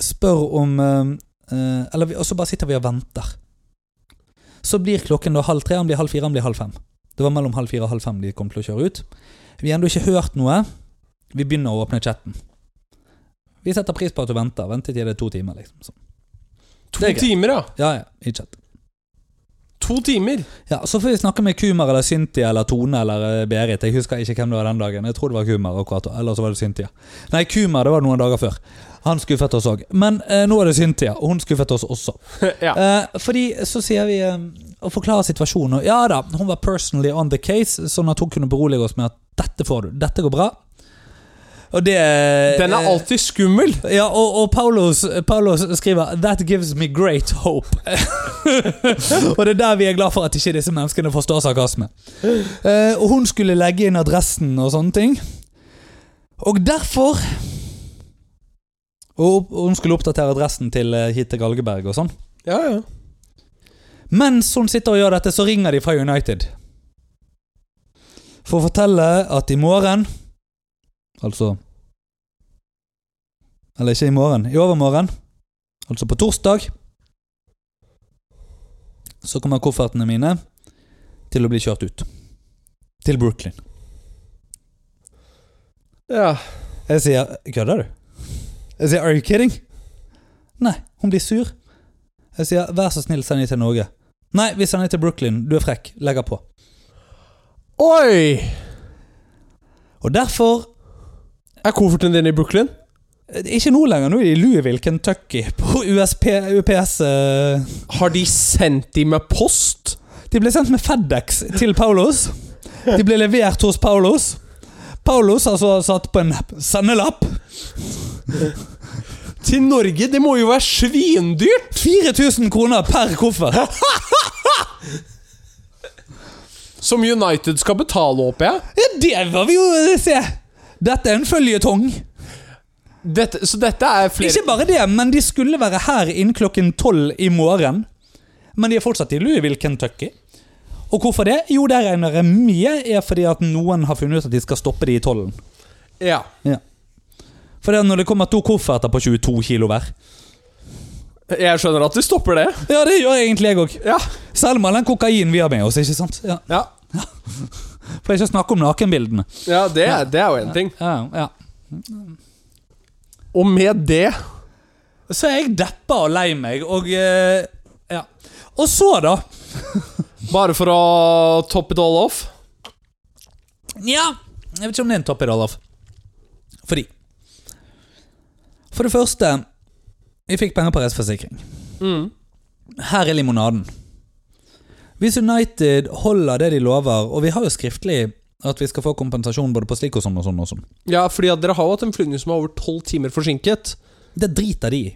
Speaker 2: spør om eh, eh, eller vi, Og så bare sitter vi og venter. Så blir klokken da halv tre, han blir halv fire, han blir halv fem. Det var mellom halv fire og halv fem de kom til å kjøre ut. Vi har ennå ikke hørt noe. Vi begynner å åpne chatten. Vi setter pris på at du venter. Ventetid er to timer, liksom. Så. Det
Speaker 1: To
Speaker 2: er greit.
Speaker 1: timer, ja.
Speaker 2: Ja, ja, i chat.
Speaker 1: To timer. <laughs>
Speaker 2: Ja, Så får vi snakke med Kumar eller Cynthia eller Tone eller eh, Berit. Jeg husker ikke hvem det var den dagen. Jeg tror det var Kumar akkurat, eller så var det Cynthia. Nei, Kumar det var noen dager før. Han skuffet oss òg. Men eh, nå er det Cynthia, og hun skuffet oss også.
Speaker 1: ja.
Speaker 2: Eh, fordi så sier vi eh, å forklare situasjonen. og Ja da, hun var personally on the case, sånn at hun kunne berolige oss med at dette får du, dette går bra. Og det
Speaker 1: Den
Speaker 2: eh,
Speaker 1: er alltid skummel.
Speaker 2: Ja, og, og Paulos, Paulos skriver 'That gives me great hope'. <laughs> og det er der vi er glad for at ikke disse menneskene forstår sarkasme. Eh, og hun skulle legge inn adressen og sånne ting. Og derfor Og opp- og hun skulle oppdatere adressen til eh, hit til Galgeberg og sånn.
Speaker 1: Ja, ja.
Speaker 2: Mens hun sitter og gjør dette, så ringer de fra United. For å fortelle at i morgen Altså Eller ikke i morgen, i overmorgen. Altså på torsdag. Så kommer koffertene mine til å bli kjørt ut. Til Brooklyn.
Speaker 1: ja.
Speaker 2: Jeg sier Kødder du? Jeg sier Are you kidding? Nei, hun blir sur. Jeg sier vær så snill, send de til Norge. Nei, vi sender de til Brooklyn. Du er frekk. Legger på.
Speaker 1: Oi!
Speaker 2: Og derfor eh,
Speaker 1: Er kofferten din i Brooklyn?
Speaker 2: Ikke nå lenger, nå er de i Louisville, Kentucky, på USP, UPS eh.
Speaker 1: Har de sendt de med post?
Speaker 2: De ble sendt med FedEx til Paulos. De ble levert hos Paulos. Paulos har så satt på en sendelapp.
Speaker 1: Til Norge? Det må jo være svindyrt!
Speaker 2: 4000 kroner per koffert!
Speaker 1: Som United skal betale, håper jeg.
Speaker 2: Ja, det var vi jo eh, se! Dette er en føljetong.
Speaker 1: Dette, så dette er flere
Speaker 2: Ikke bare det, men de skulle være her innen klokken tolv i morgen. Men de er fortsatt i Louisville, Kentucky. Og hvorfor det? Jo, det regner jeg med er fordi at noen har funnet ut at de skal stoppe de i tollen.
Speaker 1: Ja.
Speaker 2: Ja. For det er når det kommer to kofferter på 22 kilo hver
Speaker 1: Jeg skjønner at de stopper det.
Speaker 2: Ja, det gjør egentlig jeg òg.
Speaker 1: Ja.
Speaker 2: Selv med all den kokainen vi har med oss. ikke sant? Ja.
Speaker 1: Ja,
Speaker 2: For ikke å snakke om nakenbildene.
Speaker 1: ja det, er- det er jo én ting.
Speaker 2: Ja, ja.
Speaker 1: Og med det
Speaker 2: Så er jeg deppa og lei meg, og eh, Ja. Og så, da?
Speaker 1: Bare for å top it all off
Speaker 2: Nja Jeg vet ikke om det er en topp i dag, Alf. Fordi For det første Vi fikk penger på reiseforsikring.
Speaker 1: Mm.
Speaker 2: Her er limonaden. Hvis United holder det de lover, og vi har jo skriftlig at vi skal få kompensasjon både på slik og sånn og sånn og sånn
Speaker 1: Ja, fordi at dere har jo hatt en flyvning som er over tolv timer forsinket.
Speaker 2: Det driter de i.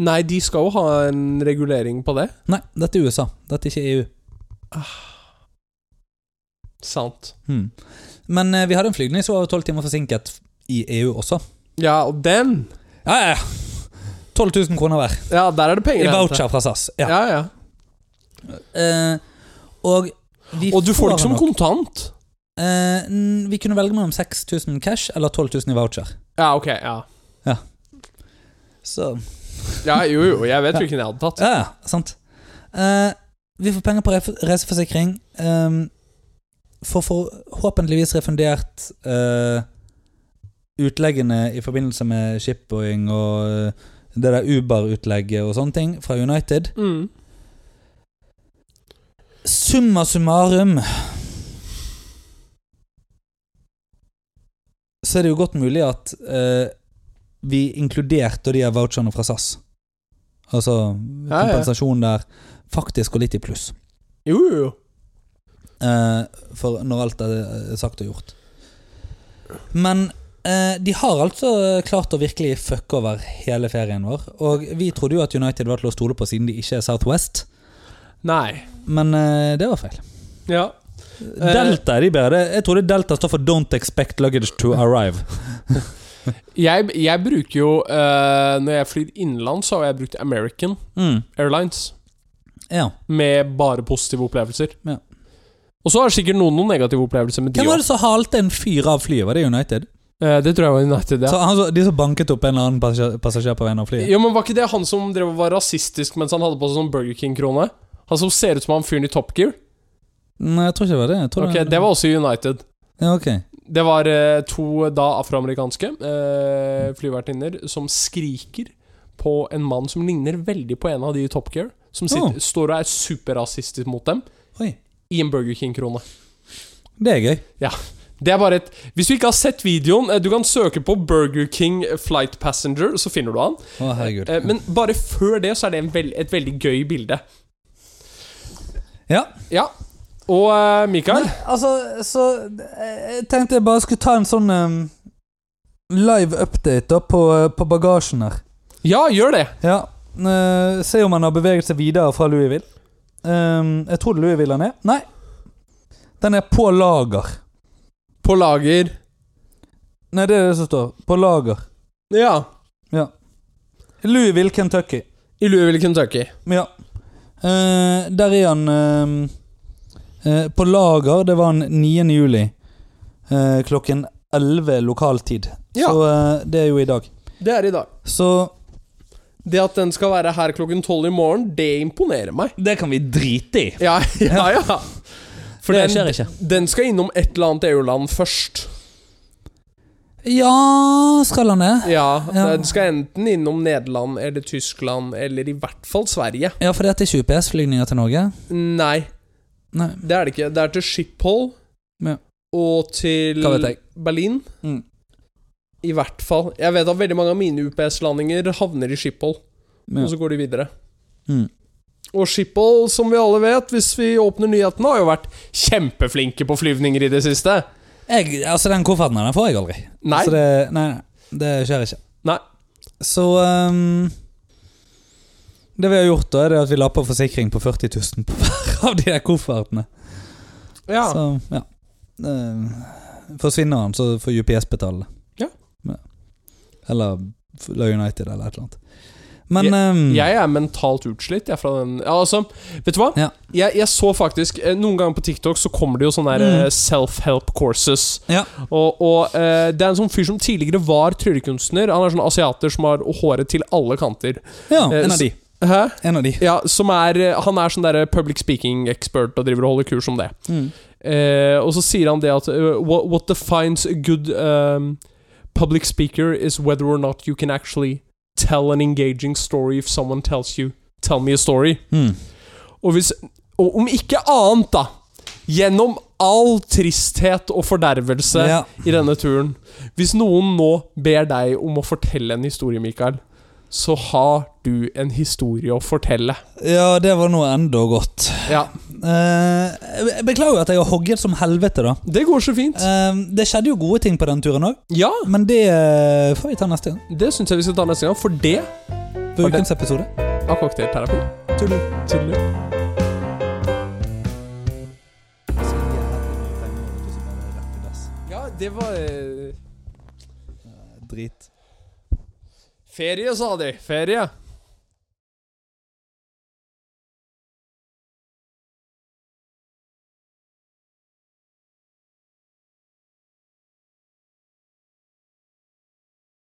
Speaker 1: Nei, de skal jo ha en regulering på det.
Speaker 2: Nei, dette er USA. Dette er ikke E EU.
Speaker 1: Sant.
Speaker 2: Hmm. Men eh, vi hadde en flygning som var tolv timer forsinket i EU også.
Speaker 1: Ja, og den
Speaker 2: Ja, ja, ja. 12 000 kroner hver.
Speaker 1: Ja, der er det
Speaker 2: I
Speaker 1: penger
Speaker 2: voucher fra SAS. Ja.
Speaker 1: Ja, ja.
Speaker 2: Eh, og vi
Speaker 1: Og du får det ikke som
Speaker 2: nok-
Speaker 1: kontant.
Speaker 2: Eh, n- vi kunne velge mellom 6000 cash eller 12 000 i voucher.
Speaker 1: Ja, ok. Ja,
Speaker 2: Så
Speaker 1: ja jo, jo. Jeg vet hvilken jeg hadde tatt.
Speaker 2: Ja, ja, sant. Eh, vi får penger på ref- reiseforsikring. Um, får forhåpentligvis refundert eh, utleggene i forbindelse med shipboing og eh, det der Uber-utlegget og sånne ting fra United.
Speaker 1: Mm.
Speaker 2: Summa summarum Så er det jo godt mulig at eh, vi inkluderte de her voucherne fra SAS. Altså
Speaker 1: Ja, ja.
Speaker 2: kompensasjon der faktisk går litt i pluss.
Speaker 1: Jo, jo, jo.
Speaker 2: eh, for når alt er eh, sagt og gjort. Men eh, de har altså klart å virkelig fucke over hele ferien vår. Og vi trodde jo at United var til å stole på siden de ikke er Southwest,
Speaker 1: Nei.
Speaker 2: men eh, det var feil.
Speaker 1: Ja.
Speaker 2: Delta er de bedre. Det- Jeg trodde Delta står for Don't expect luggage to arrive.
Speaker 1: Jeg, jeg bruker jo eh, Når jeg flyr innenlands, så har jeg brukt American Airlines.
Speaker 2: Mm, Ja.
Speaker 1: Med bare positive opplevelser.
Speaker 2: Ja.
Speaker 1: Og så har sikkert noen noen negative opplevelser med de
Speaker 2: Hvem var
Speaker 1: òg.
Speaker 2: det som halte en fyr av flyet? Var det United?
Speaker 1: det tror jeg var United, ja.
Speaker 2: Så han, så- de som banket opp en eller annen passasjer, passasjer på veien av flyet?
Speaker 1: Jo, men Var ikke det han som drev og var rasistisk mens han hadde på seg sånn Burger King-krone? Han som ser ut som han fyren i Top Gear?
Speaker 2: Nei, jeg tror ikke det var det. Jeg tror
Speaker 1: Ok, Det var også United.
Speaker 2: Ja, ok.
Speaker 1: Det var eh, to da afroamerikanske eh, flyvertinner som skriker på en mann som ligner veldig på en av de i Top Gear. Som sitter,
Speaker 2: Oh.
Speaker 1: står og er superrasistisk mot dem
Speaker 2: Oi.
Speaker 1: i en Burger King-krone.
Speaker 2: Det er gøy.
Speaker 1: Det er bare et Hvis du ikke har sett videoen, eh, du kan søke på Burger King Flight Passenger, så finner du han.
Speaker 2: Å, herregud.
Speaker 1: Eh, Men bare før det så er det en vel- et veldig gøy bilde.
Speaker 2: Ja.
Speaker 1: Ja. Og eh, Mikael?
Speaker 2: Altså, så eh, Jeg tenkte jeg bare skulle ta en sånn eh, live update da på, eh, på bagasjen her.
Speaker 1: Ja, gjør det.
Speaker 2: Ja. eh, se om han har beveget seg videre fra Louisville. Eh, jeg tror det er Louisville han er. Nei. Den er på lager.
Speaker 1: På lager.
Speaker 2: Nei, det er det som står. På lager.
Speaker 1: Ja.
Speaker 2: Louisville, Kentucky.
Speaker 1: I Louisville, Kentucky.
Speaker 2: Ja. Eh, der er han eh, eh, på lager. Det var han 9. juli eh, klokken 11 lokaltid.
Speaker 1: Ja.
Speaker 2: Så eh, det er jo i dag.
Speaker 1: Det er i dag.
Speaker 2: Så
Speaker 1: Det at den skal være her klokken tolv i morgen, det imponerer meg.
Speaker 2: Det kan vi drite i.
Speaker 1: Ja, <laughs> ja, ja. For
Speaker 2: Det
Speaker 1: den,
Speaker 2: skjer ikke.
Speaker 1: den skal innom et eller annet EU-land først.
Speaker 2: Ja, skal han det?
Speaker 1: Ja,
Speaker 2: Ja.
Speaker 1: Den skal enten innom Nederland eller Tyskland, eller i hvert fall Sverige.
Speaker 2: Ja, for dette er ikke UPS-flygninger til Norge?
Speaker 1: Nei,
Speaker 2: Nei.
Speaker 1: det er det ikke. Det er til Schiphol
Speaker 2: Ja.
Speaker 1: og til
Speaker 2: Hva vet jeg?
Speaker 1: Berlin.
Speaker 2: Mm.
Speaker 1: I hvert fall. Jeg vet at veldig mange av mine UPS-landinger havner i Schiphol,
Speaker 2: Ja.
Speaker 1: og så går de videre.
Speaker 2: Mm.
Speaker 1: Og Schiphol, som vi alle vet, hvis vi åpner nyhetene, har jo vært kjempeflinke på flyvninger i det siste.
Speaker 2: Jeg, altså, den kofferten her, den får jeg aldri.
Speaker 1: Nei.
Speaker 2: Så det, nei, nei, Altså, det skjer ikke.
Speaker 1: Nei.
Speaker 2: Så ehm, Det vi har gjort, da, er det at vi la på forsikring på 40 000 på hver <laughs> av de der koffertene.
Speaker 1: Ja.
Speaker 2: Så, ja. Eh, forsvinner han, så får UPS betale det.
Speaker 1: Ja.
Speaker 2: Eller La United, eller et eller annet. Men ehm,
Speaker 1: Jeg er mentalt utslitt jeg, fra den ja, altså, Vet du hva?
Speaker 2: Ja.
Speaker 1: Jeg, jeg så faktisk eh, Noen ganger på TikTok så kommer det jo sånne der,
Speaker 2: Mm.
Speaker 1: eh, self-help courses.
Speaker 2: Ja.
Speaker 1: Og, og eh, det er en sånn fyr som tidligere var tryllekunstner. Han er sånn asiater som har håret til alle kanter.
Speaker 2: ja,
Speaker 1: Eh,
Speaker 2: en av
Speaker 1: så-
Speaker 2: de.
Speaker 1: Hæ?
Speaker 2: En av de.
Speaker 1: Ja, som er, eh, Han er sånn der public speaking expert og driver og holder kurs om det.
Speaker 2: Mm.
Speaker 1: Eh, og så sier han det at eh, what, what defines a good um, public speaker is whether or not you can actually tell an engaging story if someone tells you 'tell me a story'.
Speaker 2: Mm.
Speaker 1: Og, hvis, og om ikke annet, da Gjennom all tristhet og fordervelse
Speaker 2: Ja.
Speaker 1: i denne turen Hvis noen nå ber deg om å fortelle en historie, Mikael, så har du en historie å fortelle.
Speaker 2: ja, det var nå enda godt.
Speaker 1: Ja,
Speaker 2: Eh, jeg beklager at jeg har hogget som helvete, da.
Speaker 1: Det går så fint.
Speaker 2: Eh, det skjedde jo gode ting på den turen òg,
Speaker 1: Ja,
Speaker 2: men det eh, får vi ta neste gang.
Speaker 1: det syns jeg vi skal ta neste gang, for det
Speaker 2: På
Speaker 1: Var det-
Speaker 2: ukens episode.
Speaker 1: av cocktailterapi.
Speaker 2: Tuller.
Speaker 1: Tuller. Ja, det var eh,
Speaker 2: Drit. Eh,
Speaker 1: Ferie, sa de. Ferie.